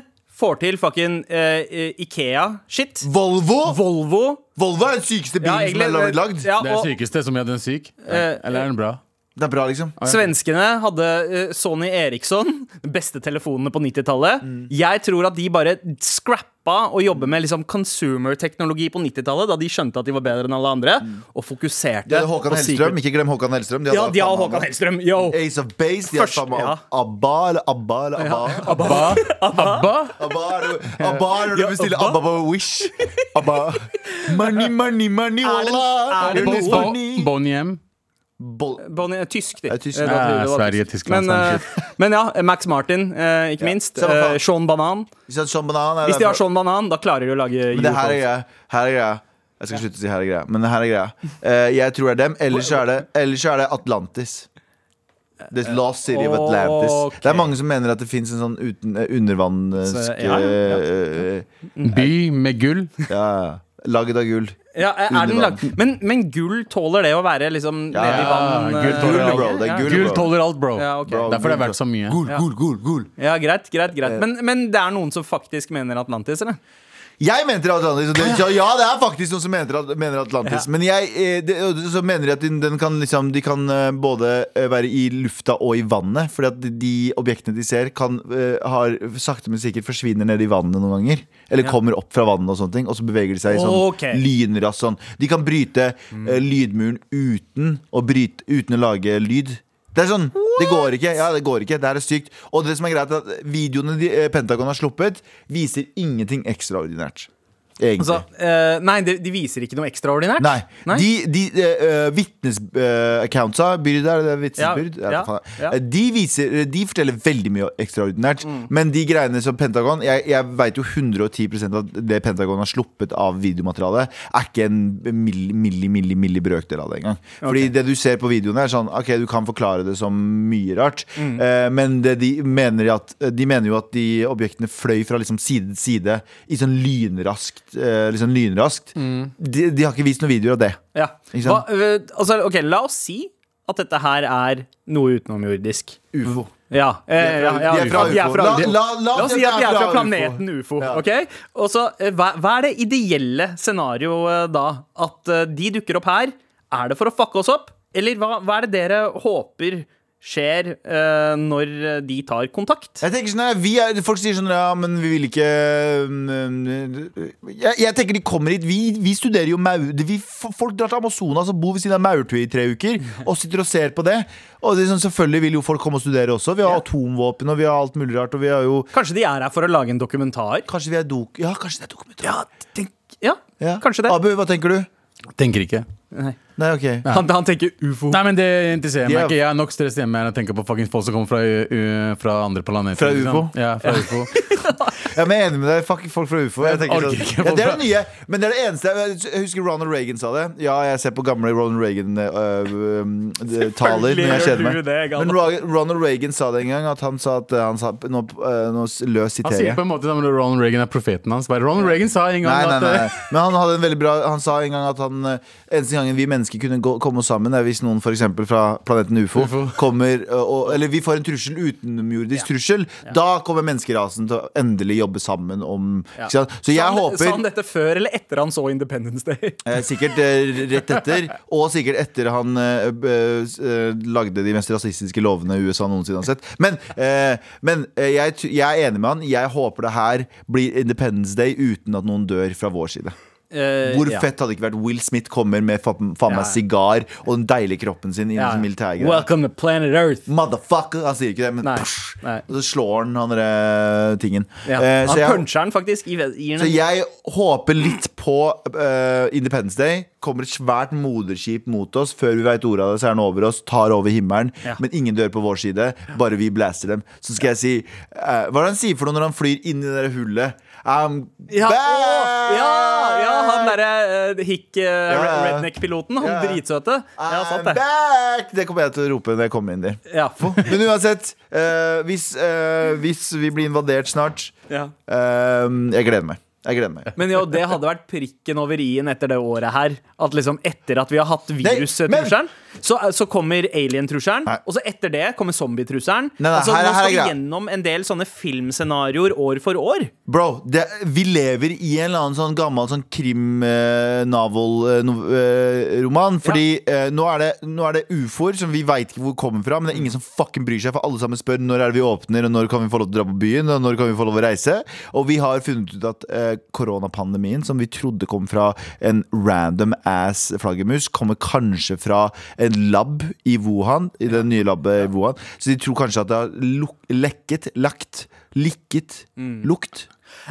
[SPEAKER 2] får til fucking eh, Ikea-shit.
[SPEAKER 6] Volvo!
[SPEAKER 2] Volvo.
[SPEAKER 6] Volvo er den sykeste bilen som er blitt lagd.
[SPEAKER 2] ja,
[SPEAKER 3] Det er
[SPEAKER 2] og-
[SPEAKER 3] sykeste som gjør den syk.
[SPEAKER 2] eh,
[SPEAKER 3] Eller er den bra?
[SPEAKER 6] Det er bra, liksom.
[SPEAKER 2] Svenskene hadde eh, Sony Eriksson, de beste telefonene på 90-tallet. Jeg tror at de bare scrappa å jobbe med liksom consumer-teknologi på 90-tallet, da de skjønte at de var bedre enn alle andre, og fokuserte
[SPEAKER 6] Det er Håkan
[SPEAKER 2] på
[SPEAKER 6] Hellstrøm.
[SPEAKER 2] secret-
[SPEAKER 6] Ikke glem Håkan Hellstrøm.
[SPEAKER 2] Ja,
[SPEAKER 6] hadde
[SPEAKER 2] de har
[SPEAKER 6] faen meg-
[SPEAKER 2] Håkan Hellstrøm. Yo!
[SPEAKER 6] Ace of Base. De har
[SPEAKER 2] Først-
[SPEAKER 6] faen meg
[SPEAKER 2] ja.
[SPEAKER 6] Abba eller Abba eller Abba.
[SPEAKER 3] Abba? Abba?
[SPEAKER 6] Abba er det- Abba er når du
[SPEAKER 2] Ja,
[SPEAKER 6] bestiller
[SPEAKER 2] Abba.
[SPEAKER 6] Abba på Wish. Abba. Money, money, money, wallah.
[SPEAKER 2] er det
[SPEAKER 6] Earn
[SPEAKER 3] Bo-
[SPEAKER 6] is
[SPEAKER 3] Bo-
[SPEAKER 6] money.
[SPEAKER 3] Bonhjem.
[SPEAKER 6] Bo-
[SPEAKER 2] Bonnie, tysk, de.
[SPEAKER 6] Ja, tysk.
[SPEAKER 2] Eh, det var
[SPEAKER 3] Ja,
[SPEAKER 2] tydelig det var
[SPEAKER 3] Sverige,
[SPEAKER 2] tysk.
[SPEAKER 3] Tyskland,
[SPEAKER 2] Men,
[SPEAKER 3] samme
[SPEAKER 2] eh, men ja, Max Martin, eh, ikke minst.
[SPEAKER 6] samme faen.
[SPEAKER 2] Eh, Sean Banan.
[SPEAKER 6] Hvis de har sånn banan er
[SPEAKER 2] Hvis
[SPEAKER 6] det
[SPEAKER 2] de har Sean Banan, da klarer de å lage
[SPEAKER 6] Men det her er
[SPEAKER 2] UFOs.
[SPEAKER 6] greia. Her er greia. Jeg skal slutte å si her er greia, men her er greia. Eh, jeg tror det er dem. Ellers så er det, ellers så er det Atlantis. The Lost City of Atlantis.
[SPEAKER 2] Ok.
[SPEAKER 6] Det er mange som mener at det fins en sånn uten, eh, undervannsk
[SPEAKER 2] Så, ja, ja.
[SPEAKER 6] eh,
[SPEAKER 3] By med gull.
[SPEAKER 6] ja, Laget av gull.
[SPEAKER 2] Ja, er er den
[SPEAKER 6] Under vann.
[SPEAKER 2] lag- men, men gull tåler det å være liksom
[SPEAKER 6] Ja,
[SPEAKER 2] nede i vann?
[SPEAKER 3] ja,
[SPEAKER 2] eh,
[SPEAKER 3] gull tåler
[SPEAKER 6] Gull, bro. Det
[SPEAKER 2] Ja.
[SPEAKER 6] er gull,
[SPEAKER 3] Gull
[SPEAKER 6] bro.
[SPEAKER 3] tåler alt, bro.
[SPEAKER 2] Ja, ok.
[SPEAKER 3] Derfor
[SPEAKER 6] Bro,
[SPEAKER 3] det
[SPEAKER 6] gull,
[SPEAKER 3] er verdt så mye.
[SPEAKER 6] Gull, gull, gull, gull.
[SPEAKER 2] Ja, greit, greit, greit.
[SPEAKER 6] Eh.
[SPEAKER 2] Men, men det er noen som faktisk mener Atlantis, eller?
[SPEAKER 6] Jeg mente Atlantis. Og det, ja, ja, det er faktisk noen som mener, at- mener Atlantis. Men jeg, eh, det, og så mener de at den, den kan liksom, de kan eh, både eh, være i lufta og i vannet. Fordi at de objektene de ser, kan, eh, har sakte, men sikkert forsvinner ned i vannet noen ganger. Eller kommer opp fra vannet, og sånne ting Og så beveger de seg i sånn
[SPEAKER 2] Ok.
[SPEAKER 6] lynrass. Sånn. De kan bryte eh, lydmuren uten å, bryte, uten å lage lyd. Det er sånn, det går ikke. Ja, det går ikke. Det her er sykt. Og det som er greit, er at videoene de, eh, Pentagon har sluppet, viser ingenting ekstraordinært. egentlig.
[SPEAKER 2] Altså, eh, nei, de, de viser ikke noe ekstraordinært.
[SPEAKER 6] Nei. De, de eh, vitnesaccounta Byrd, er det det vitnesbyrd?
[SPEAKER 2] Ja,
[SPEAKER 6] Jeg vet
[SPEAKER 2] ja,
[SPEAKER 6] ikke faen.
[SPEAKER 2] ja. Mm.
[SPEAKER 6] Eh, De, viser, de forteller veldig mye ekstraordinært. Men de greiene som Pentagon Jeg, jeg veit jo 110 at det Pentagon har sluppet av videomateriale, er ikke en milli, milli, milli, milli brøkdel av det engang. Fordi det du ser på videoene, er sånn OK, du kan forklare det som mye rart,
[SPEAKER 2] Mm.
[SPEAKER 6] eh, men det de, mener at, eh, de mener jo at de objektene fløy fra liksom side til side i sånn lynraskt. eh, Liksom lynraskt.
[SPEAKER 2] Mm.
[SPEAKER 6] De, de har ikke vist noen videoer av det.
[SPEAKER 2] Ja.
[SPEAKER 6] Ikke
[SPEAKER 2] Hva,
[SPEAKER 6] sant?
[SPEAKER 2] eh, altså, ok, la oss si at dette her er noe utenomjordisk.
[SPEAKER 6] Ufo.
[SPEAKER 2] Ja, eh,
[SPEAKER 6] De er fra-
[SPEAKER 2] ja, ja,
[SPEAKER 6] de er fra
[SPEAKER 2] de er
[SPEAKER 6] UFO.
[SPEAKER 2] fra
[SPEAKER 6] La-
[SPEAKER 2] UFO.
[SPEAKER 6] la- la
[SPEAKER 2] La oss si at de er fra planeten UFO.
[SPEAKER 6] Ja.
[SPEAKER 2] ok? Og så, eh, hva, hva er det ideelle scenarioet da? At eh, de dukker opp her? Er det for å fucke oss opp? Eller hva, hva er det dere håper skjer eh, når de tar kontakt?
[SPEAKER 6] Jeg tenker sånn, nei, vi er, Folk sier sånn Ja, men vi vil ikke mm, Jeg, jeg tenker de kommer hit. Vi, vi studerer jo maur... Vi, folk drar til Amazonas og bor ved siden av maurtue i tre uker og sitter og ser på det. Og det er sånn, selvfølgelig vil jo folk komme og studere også. Vi har atomvåpen og vi har alt mulig rart. Og vi har jo
[SPEAKER 2] Kanskje de er her for å lage en dokumentar?
[SPEAKER 6] Kanskje vi er dok... Ja, kanskje det er dokumentar.
[SPEAKER 2] Ja, tenk, ja,
[SPEAKER 6] Ja.
[SPEAKER 2] kanskje det.
[SPEAKER 6] Abu, hva tenker du?
[SPEAKER 3] Tenker ikke.
[SPEAKER 6] Nei, OK.
[SPEAKER 2] Han, han tenker ufo.
[SPEAKER 3] Nei, men Det interesserer
[SPEAKER 6] De er-
[SPEAKER 3] meg ikke. Jeg er nok stress hjemme enn å tenke på fucking folk som kommer fra, ø, ø, fra andre planeter.
[SPEAKER 6] Fra
[SPEAKER 3] liksom.
[SPEAKER 6] UFO?
[SPEAKER 3] Ja, fra UFO.
[SPEAKER 6] Ja, men jeg er enig med deg. Fuck folk fra UFO. Jeg tenker
[SPEAKER 3] orker
[SPEAKER 6] sånn.
[SPEAKER 3] ikke
[SPEAKER 6] ja,
[SPEAKER 3] folk
[SPEAKER 6] det er
[SPEAKER 3] fra-
[SPEAKER 6] det nye. Men det er det eneste Jeg husker Ronald Reagan sa det. Ja, jeg ser på gamle Ronald eh, Reagan-taler når jeg
[SPEAKER 2] gjør
[SPEAKER 6] kjeder
[SPEAKER 2] du
[SPEAKER 6] meg.
[SPEAKER 2] det, Galvan.
[SPEAKER 6] Men Ra- Ronald Reagan sa det en gang. At han sa at eh, han sa, Nå, eh, nå s- løs
[SPEAKER 3] Han sier
[SPEAKER 6] siterer
[SPEAKER 3] på
[SPEAKER 6] jeg.
[SPEAKER 3] en måte at Ronald Reagan er profeten hans. Bare, Ronald Reagan sa en gang
[SPEAKER 6] Nei, nei, nei,
[SPEAKER 3] at
[SPEAKER 6] nei. Men han hadde en veldig bra Han sa en gang at han eh, eneste gangen vi mennesker kunne gå, komme oss sammen, er hvis noen f.eks. fra planeten UFO, kommer eh, og, Eller vi får en trussel utenomjordisk trussel. Da kommer menneskerasen til å endelig jobbe sammen om ikke sant? Så jeg
[SPEAKER 2] Sa han-
[SPEAKER 6] håper
[SPEAKER 2] Sa han dette før eller etter han så Independence Day?
[SPEAKER 6] Eh, Sikkert eh, rett etter, og sikkert etter han eh, eh, s- eh, lagde de mest rasistiske lovene USA noensinne har sett. Men, eh, men eh, jeg, t- jeg er enig med han. Jeg håper det her blir Independence Day uten at noen dør fra vår side. Hvor fett hadde det ikke vært Will Smith kommer med fa- faen
[SPEAKER 2] Eh, Ja.
[SPEAKER 6] meg sigar og den deilige kroppen sin i ja. militærgreier.
[SPEAKER 2] Welcome to planet Earth.
[SPEAKER 6] Motherfucker! Han sier ikke det, men
[SPEAKER 2] Nei,
[SPEAKER 6] psh,
[SPEAKER 2] nei.
[SPEAKER 6] og så slår han han derre tingen.
[SPEAKER 2] Ja.
[SPEAKER 6] Eh, så
[SPEAKER 2] han
[SPEAKER 6] jeg-
[SPEAKER 2] puncher den faktisk. I, i
[SPEAKER 6] så jeg håper litt på eh, Independence Day. Kommer et svært moderskip mot oss. Før vi veit ordet av det, så er den over oss, tar over himmelen.
[SPEAKER 2] Ja.
[SPEAKER 6] Men ingen dør på vår side. Bare vi blaster dem. Så skal jeg si eh, Hva er det han sier for noe når han flyr inn i det der hullet? I'm
[SPEAKER 2] ja,
[SPEAKER 6] back!
[SPEAKER 2] å, ja, ja, han derre uh, hick eh,
[SPEAKER 6] ja.
[SPEAKER 2] redneck-piloten. Han
[SPEAKER 6] Ja. Ah,
[SPEAKER 2] dritsøte. Ja, sant
[SPEAKER 6] I'm
[SPEAKER 2] det.
[SPEAKER 6] back! Det kommer jeg til å rope når jeg kommer inn der.
[SPEAKER 2] Ja.
[SPEAKER 6] Men uansett, eh, hvis, eh, hvis vi blir invadert snart
[SPEAKER 2] Ja.
[SPEAKER 6] eh, Jeg gleder meg. Jeg gleder meg.
[SPEAKER 2] Men jo, det hadde vært prikken over i-en etter det året her. At liksom etter at vi har hatt
[SPEAKER 6] men-
[SPEAKER 2] virustrusselen, så, så kommer alien-trusselen.
[SPEAKER 6] Nei.
[SPEAKER 2] Og så etter det kommer zombie-trusselen.
[SPEAKER 6] Nei, nei,
[SPEAKER 2] Altså,
[SPEAKER 6] her er-
[SPEAKER 2] nå
[SPEAKER 6] her er
[SPEAKER 2] skal vi
[SPEAKER 6] greia.
[SPEAKER 2] gjennom en del sånne filmscenarioer år for år.
[SPEAKER 6] Bro, det, vi lever i en eller annen sånn gammel sånn eh, krim-navel-roman. fordi eh, nå, er det, nå er det ufoer som vi veit ikke hvor kommer fra, men det er ingen som fucking bryr seg. For alle sammen spør når er det vi åpner, og når kan vi få lov til å dra på byen, og når kan vi få lov til å reise. Og vi har funnet ut at eh, koronapandemien, som vi trodde kom fra en random ass flaggermus, kommer kanskje fra en lab i Wuhan, i det nye labet i Wuhan. Så de tror kanskje at det har luk lekket, lagt, likket, lukt.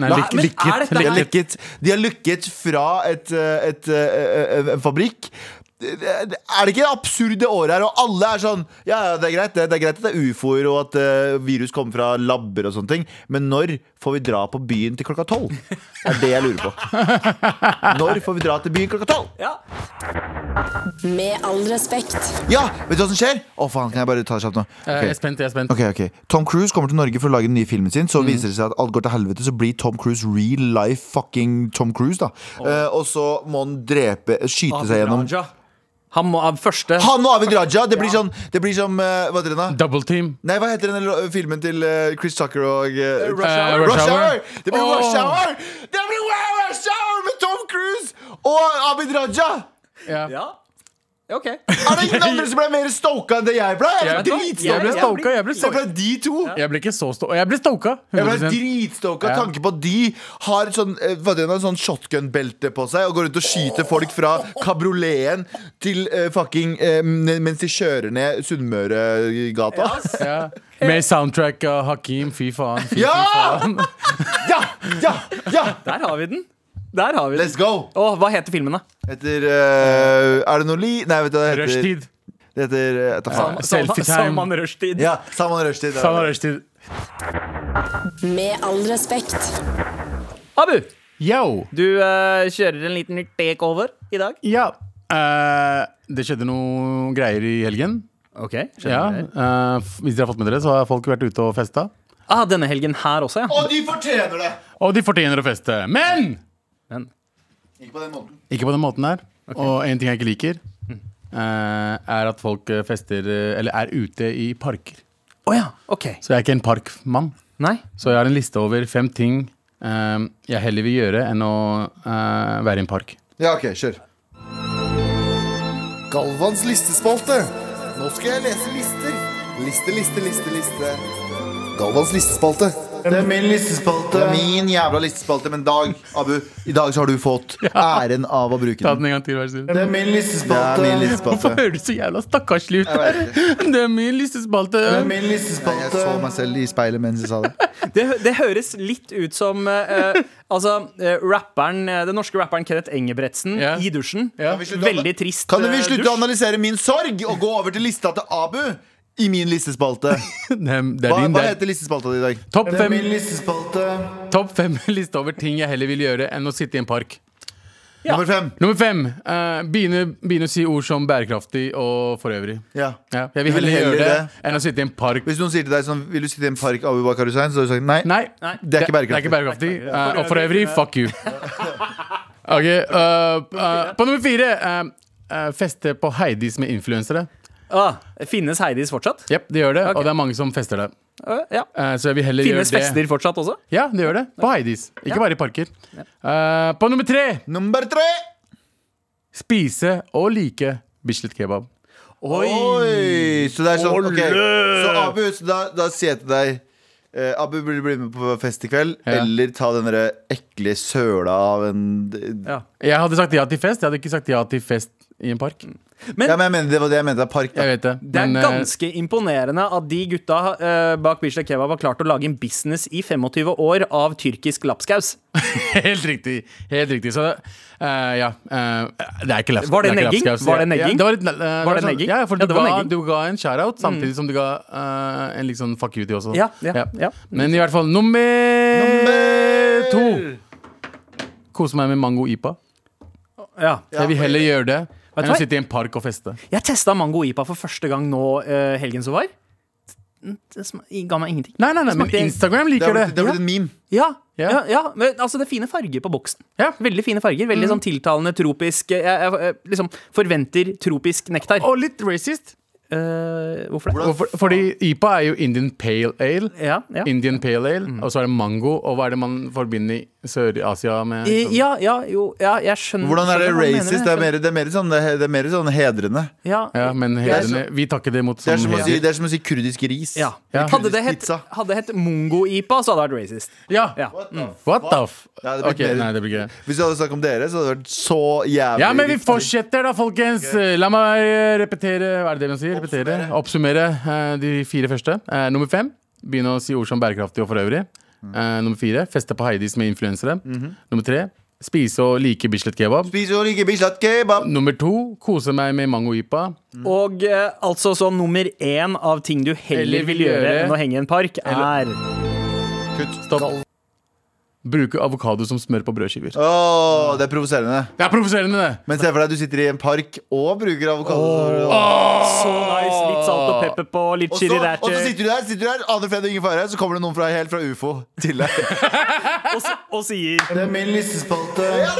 [SPEAKER 3] Nei,
[SPEAKER 6] Nei,
[SPEAKER 3] lik-
[SPEAKER 2] men er dette her-
[SPEAKER 3] likket.
[SPEAKER 6] De har
[SPEAKER 3] likket.
[SPEAKER 6] lukket, de har lukket fra et, eh, et, eh, eh, en fabrikk. Det- det- Er det ikke det absurde året her? Og alle er sånn Ja, ja, det er greit, det, det er greit at det er ufoer og at eh, virus kommer fra labber og sånne ting, men når får vi dra på byen til klokka tolv? Det er det jeg lurer på. Når får vi dra til byen klokka tolv?
[SPEAKER 2] Ja.
[SPEAKER 4] Med all respekt.
[SPEAKER 6] Ja, vet du hva som skjer? Å, faen, kan jeg bare ta det kjapt nå?
[SPEAKER 3] Eh,
[SPEAKER 6] Ok.
[SPEAKER 3] Jeg er spent. jeg er spent
[SPEAKER 6] Ok, ok Tom Cruise kommer til Norge for å lage den nye filmen sin.
[SPEAKER 3] Mm.
[SPEAKER 6] Så viser det seg at alt går til helvete, så blir Tom Cruise real life fucking Tom Cruise. da Eh, Og så må han drepe skyte seg gjennom
[SPEAKER 2] Raja. Han må av første
[SPEAKER 6] Han og Abid Raja! Det blir sånn Det blir som eh, Hva heter den, da?
[SPEAKER 3] Double team.
[SPEAKER 6] Nei, hva heter den eh, filmen til eh, Chris Tucker og eh,
[SPEAKER 3] Rush Hour. Eh, Rush
[SPEAKER 6] Rush
[SPEAKER 3] Hour.
[SPEAKER 6] Hour! Det blir
[SPEAKER 3] Åh.
[SPEAKER 6] Rush Hour! Det blir Rush Hour med Tom Cruise og Abid Raja!
[SPEAKER 2] Ja. OK.
[SPEAKER 6] Er det ingen andre som ble mer stoka enn det jeg ble? Jeg ble
[SPEAKER 3] Jeg ble
[SPEAKER 2] Jeg-
[SPEAKER 6] dritstoka.
[SPEAKER 2] jeg blir-
[SPEAKER 3] stoka. Jeg ble
[SPEAKER 6] Jeg
[SPEAKER 3] stoka.
[SPEAKER 6] ble de to.
[SPEAKER 3] Jeg ble ikke så stoka. Jeg ble stoka.
[SPEAKER 6] Jeg ble
[SPEAKER 3] 100%.
[SPEAKER 6] dritstoka
[SPEAKER 3] Ja.
[SPEAKER 6] tanke på at de har et sånn, eh, hva det er, en sånn shotgun-belte på seg og går rundt og skyter folk fra kabrioleten til eh, fucking eh, men- mens de kjører ned Sunnmøregata.
[SPEAKER 3] Ja. Med soundtrack av Hakim. Fy faen. Fy
[SPEAKER 6] Ja!
[SPEAKER 3] faen.
[SPEAKER 6] Ja! Ja! ja!
[SPEAKER 2] Der har vi den. Der har vi den.
[SPEAKER 6] Let's go!
[SPEAKER 2] Å, hva heter filmen, da?
[SPEAKER 6] Etter eh, Er det noe li? Nei, vet du hva det heter?
[SPEAKER 3] Rushtid.
[SPEAKER 6] Det heter eh, ta faen.
[SPEAKER 3] Selfie time.
[SPEAKER 2] Salman Rushdie.
[SPEAKER 6] Ja, Salman Rushdie. det er
[SPEAKER 3] Salman
[SPEAKER 6] det.
[SPEAKER 3] Rushdie.
[SPEAKER 4] Med all respekt.
[SPEAKER 2] Abu,
[SPEAKER 3] Yo.
[SPEAKER 2] du eh, kjører en liten takeover i dag.
[SPEAKER 3] Ja. eh, det skjedde noe greier i helgen.
[SPEAKER 2] Ok,
[SPEAKER 3] Ja,
[SPEAKER 2] skjønner jeg.
[SPEAKER 3] eh, f- hvis dere har fått med dere, så har folk vært ute og festa.
[SPEAKER 2] Ah, denne helgen her også, ja.
[SPEAKER 6] Og de fortjener det!
[SPEAKER 3] Og de fortjener å feste. Men
[SPEAKER 2] Men,
[SPEAKER 6] Ikke på den måten.
[SPEAKER 3] ikke på den måten her. Og en ting jeg ikke liker, eh, er at folk eh, fester eh, eller er ute i parker.
[SPEAKER 2] å ja, ok.
[SPEAKER 3] Så jeg er ikke en parkmann.
[SPEAKER 2] Nei.
[SPEAKER 3] Så jeg har en liste over fem ting eh, jeg heller vil gjøre enn å eh, være i en park.
[SPEAKER 6] Ja, ok, kjør.
[SPEAKER 8] Galvans listespalte. Nå skal jeg lese lister. Liste, liste, liste, liste. Galvans listespalte.
[SPEAKER 6] Det er min listespalte. Det er min jævla listespalte, men Dag, Abu, i dag så har du fått æren av å bruke
[SPEAKER 3] Ta
[SPEAKER 6] den.
[SPEAKER 3] den en gang til, vær så snill.
[SPEAKER 6] Det er min listespalte. Det er min
[SPEAKER 3] Hvorfor
[SPEAKER 6] listespalte.
[SPEAKER 3] høres du så jævla stakkarslig ut?
[SPEAKER 6] Jeg vet
[SPEAKER 3] Det er min listespalte.
[SPEAKER 6] Jeg så meg selv i speilet mens jeg sa det.
[SPEAKER 2] Det, hø- det høres litt ut som eh, Altså, eh, rapperen, eh, den norske rapperen Kenneth Engebretsen
[SPEAKER 3] Ja.
[SPEAKER 2] i dusjen.
[SPEAKER 3] Ja.
[SPEAKER 6] vi slutte å-
[SPEAKER 2] Veldig trist
[SPEAKER 6] Kan vi
[SPEAKER 2] eh,
[SPEAKER 6] slutte å
[SPEAKER 2] dusj.
[SPEAKER 6] analysere min sorg og gå over til lista til Abu? I min listespalte.
[SPEAKER 3] Det er, det er
[SPEAKER 6] Hva,
[SPEAKER 3] din,
[SPEAKER 6] hva
[SPEAKER 3] det er-
[SPEAKER 6] heter listespalta di i dag?
[SPEAKER 3] Topp fem,
[SPEAKER 6] listespalte.
[SPEAKER 3] topp fem liste over ting jeg heller vil gjøre enn å sitte i en park.
[SPEAKER 6] Nummer fem.
[SPEAKER 3] Nummer fem. eh, begynne, begynne å si ord som bærekraftig og for øvrig.
[SPEAKER 6] Ja.
[SPEAKER 3] Ja, jeg vil heller, gjøre det, enn å sitte i en park.
[SPEAKER 6] Hvis noen sier til deg sånn Vil du sitte i en park, Abu Bakar Hussein? Så har du sagt nei.
[SPEAKER 3] Nei,
[SPEAKER 6] Det er ikke
[SPEAKER 3] Det er
[SPEAKER 6] bærekraftig.
[SPEAKER 3] ikke bærekraftig. Eh, og for øvrig, fuck you. Ok, eh, eh, På nummer fire eh, eh, feste på Heidis med influensere.
[SPEAKER 2] Ah, finnes Heidis fortsatt?
[SPEAKER 3] Jepp, det gjør det,
[SPEAKER 2] Ok.
[SPEAKER 3] og det er mange som fester det.
[SPEAKER 2] Eh, ja.
[SPEAKER 3] Eh, så jeg vil heller
[SPEAKER 2] Finnes
[SPEAKER 3] gjøre det.
[SPEAKER 2] fester fortsatt også?
[SPEAKER 3] Ja, det gjør det. På Heidis. Ikke bare i parker. Eh, på nummer tre
[SPEAKER 6] Nummer tre!
[SPEAKER 3] spise og like Bislett kebab.
[SPEAKER 6] Oi! Så det er sånn ok. Så Abu, så da, da sier jeg til deg eh, Abu burde bli med på fest i kveld,
[SPEAKER 3] Ja.
[SPEAKER 6] eller ta den derre ekle søla av en ja.
[SPEAKER 2] Ja.
[SPEAKER 3] Jeg hadde sagt ja til fest. Jeg hadde ikke sagt ja til fest i en park.
[SPEAKER 6] men jeg mener, Det var det jeg mente. det er Park. da.
[SPEAKER 3] Jeg vet det.
[SPEAKER 2] Det er
[SPEAKER 3] men, eh,
[SPEAKER 2] ganske imponerende at de gutta eh, bak Bislett Kebab har klart å lage en business i 25 år av tyrkisk lapskaus.
[SPEAKER 3] Helt riktig. Helt riktig. Så det, eh, ja eh, Det er ikke laps.
[SPEAKER 2] Var det
[SPEAKER 3] er ikke
[SPEAKER 2] negging?
[SPEAKER 3] lapskaus.
[SPEAKER 2] Var det negging?
[SPEAKER 3] Ja, det var litt, eh,
[SPEAKER 2] Var det
[SPEAKER 3] sånn-
[SPEAKER 2] negging?
[SPEAKER 3] Ja, for
[SPEAKER 2] Ja,
[SPEAKER 3] du,
[SPEAKER 2] det var
[SPEAKER 3] ga,
[SPEAKER 2] negging. Mm.
[SPEAKER 3] du ga en shout-out samtidig som du ga eh, en liksom fuck you til også.
[SPEAKER 2] Ja, ja, ja.
[SPEAKER 3] Men i hvert fall nummer, to. Kose meg med mango ipa.
[SPEAKER 2] Ja.
[SPEAKER 3] Jeg vil heller gjøre det
[SPEAKER 2] Vet
[SPEAKER 3] enn
[SPEAKER 2] du
[SPEAKER 3] å
[SPEAKER 2] hva?
[SPEAKER 3] sitte i en park og feste.
[SPEAKER 2] Jeg testa mango ipa for første gang nå eh, helgen som var. Det sma- ga meg ingenting.
[SPEAKER 3] Nei, nei, nei, men
[SPEAKER 2] Smakte-
[SPEAKER 3] Instagram
[SPEAKER 6] Det
[SPEAKER 3] liker
[SPEAKER 6] har blitt, det
[SPEAKER 3] det.
[SPEAKER 6] har blitt en meme.
[SPEAKER 2] Ja,
[SPEAKER 3] Ja.
[SPEAKER 2] ja. ja, Men altså, det er fine farger på boksen.
[SPEAKER 3] Ja. Mm.
[SPEAKER 2] Veldig fine farger. Veldig sånn tiltalende tropisk. Jeg, jeg, jeg liksom forventer tropisk nektar.
[SPEAKER 3] Og litt racist.
[SPEAKER 2] Eh, hvorfor det?
[SPEAKER 3] Og For, fordi IPA er jo Indian Pale Ale.
[SPEAKER 2] Ja, ja. Mm.
[SPEAKER 3] Indian Pale Ale, og så er det mango. Og hva er det man forbinder i Sør-Asia med?
[SPEAKER 2] Eh,
[SPEAKER 3] liksom?
[SPEAKER 2] ja, ja, jo, ja, jeg skjønner
[SPEAKER 6] Hvordan er det
[SPEAKER 2] skjønner hva du mener,
[SPEAKER 6] racist? Det er
[SPEAKER 2] jeg
[SPEAKER 6] mer, det er mer, sånn, det er- det er mer sånn hedrende.
[SPEAKER 2] skjønner. Ja,
[SPEAKER 3] Ja, men hederne, vi takker det mot
[SPEAKER 6] Det er,
[SPEAKER 3] som
[SPEAKER 6] som å si,
[SPEAKER 3] heder.
[SPEAKER 6] det er som å si kurdisk ris.
[SPEAKER 2] Ja.
[SPEAKER 3] Ja.
[SPEAKER 2] Hadde det hett,
[SPEAKER 6] Pizza.
[SPEAKER 2] hadde det hett mongo-ipa, så hadde det vært racist.
[SPEAKER 3] Ja.
[SPEAKER 2] Ja.
[SPEAKER 3] What the f...
[SPEAKER 6] Ja, det blir
[SPEAKER 3] ok,
[SPEAKER 6] mer-
[SPEAKER 3] nei, det blir ikke det.
[SPEAKER 6] Hvis jeg hadde snakket om dere, så hadde det vært så jævlig
[SPEAKER 3] Ja, men vi
[SPEAKER 6] riktig.
[SPEAKER 3] fortsetter da, folkens. La meg eh, repetere Hva er det det man sier? Repetere. Oppsummere eh, de fire første. Eh, nummer fem begynne å si ord som bærekraftig og for øvrig.
[SPEAKER 6] Mm.
[SPEAKER 3] Eh, nummer fire feste på Heidis med influensere.
[SPEAKER 6] Mhm.
[SPEAKER 3] Nummer tre spise og like Bislett kebab.
[SPEAKER 6] Spiser jo like bislett kebab.
[SPEAKER 3] Nummer to kose meg med mango-ipa.
[SPEAKER 2] Og eh, altså så nummer én av ting du heller
[SPEAKER 3] Eller
[SPEAKER 2] vil
[SPEAKER 3] vil
[SPEAKER 2] gjøre
[SPEAKER 3] gjøre-
[SPEAKER 2] enn å henge i en park, er
[SPEAKER 3] Stopp. Bruke avokado som smør på brødskiver.
[SPEAKER 6] Åh, det er provoserende.
[SPEAKER 3] Det er provoserende, det!
[SPEAKER 6] Men se for deg at du sitter i en park og bruker avokado.
[SPEAKER 2] så nice. Litt salt og pepper på, litt
[SPEAKER 6] Og så,
[SPEAKER 2] chili
[SPEAKER 6] og så sitter du der, sitter du der aner fred og ingen fare, så kommer det noen fra helt fra ufo til deg.
[SPEAKER 2] og, s- og sier
[SPEAKER 6] Det er min listespalte.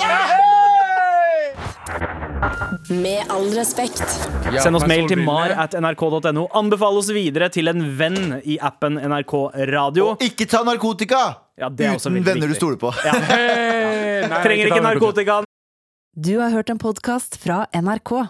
[SPEAKER 4] Med all respekt.
[SPEAKER 2] Send oss mail til mar at nrk.no. Anbefal oss videre til en venn i appen NRK Radio.
[SPEAKER 6] Ikke ta narkotika
[SPEAKER 2] Ja, det er også
[SPEAKER 6] uten
[SPEAKER 2] veldig
[SPEAKER 6] venner du
[SPEAKER 2] viktig.
[SPEAKER 6] stoler på.
[SPEAKER 2] Trenger ikke narkotika.
[SPEAKER 1] Du har hørt en podkast fra NRK.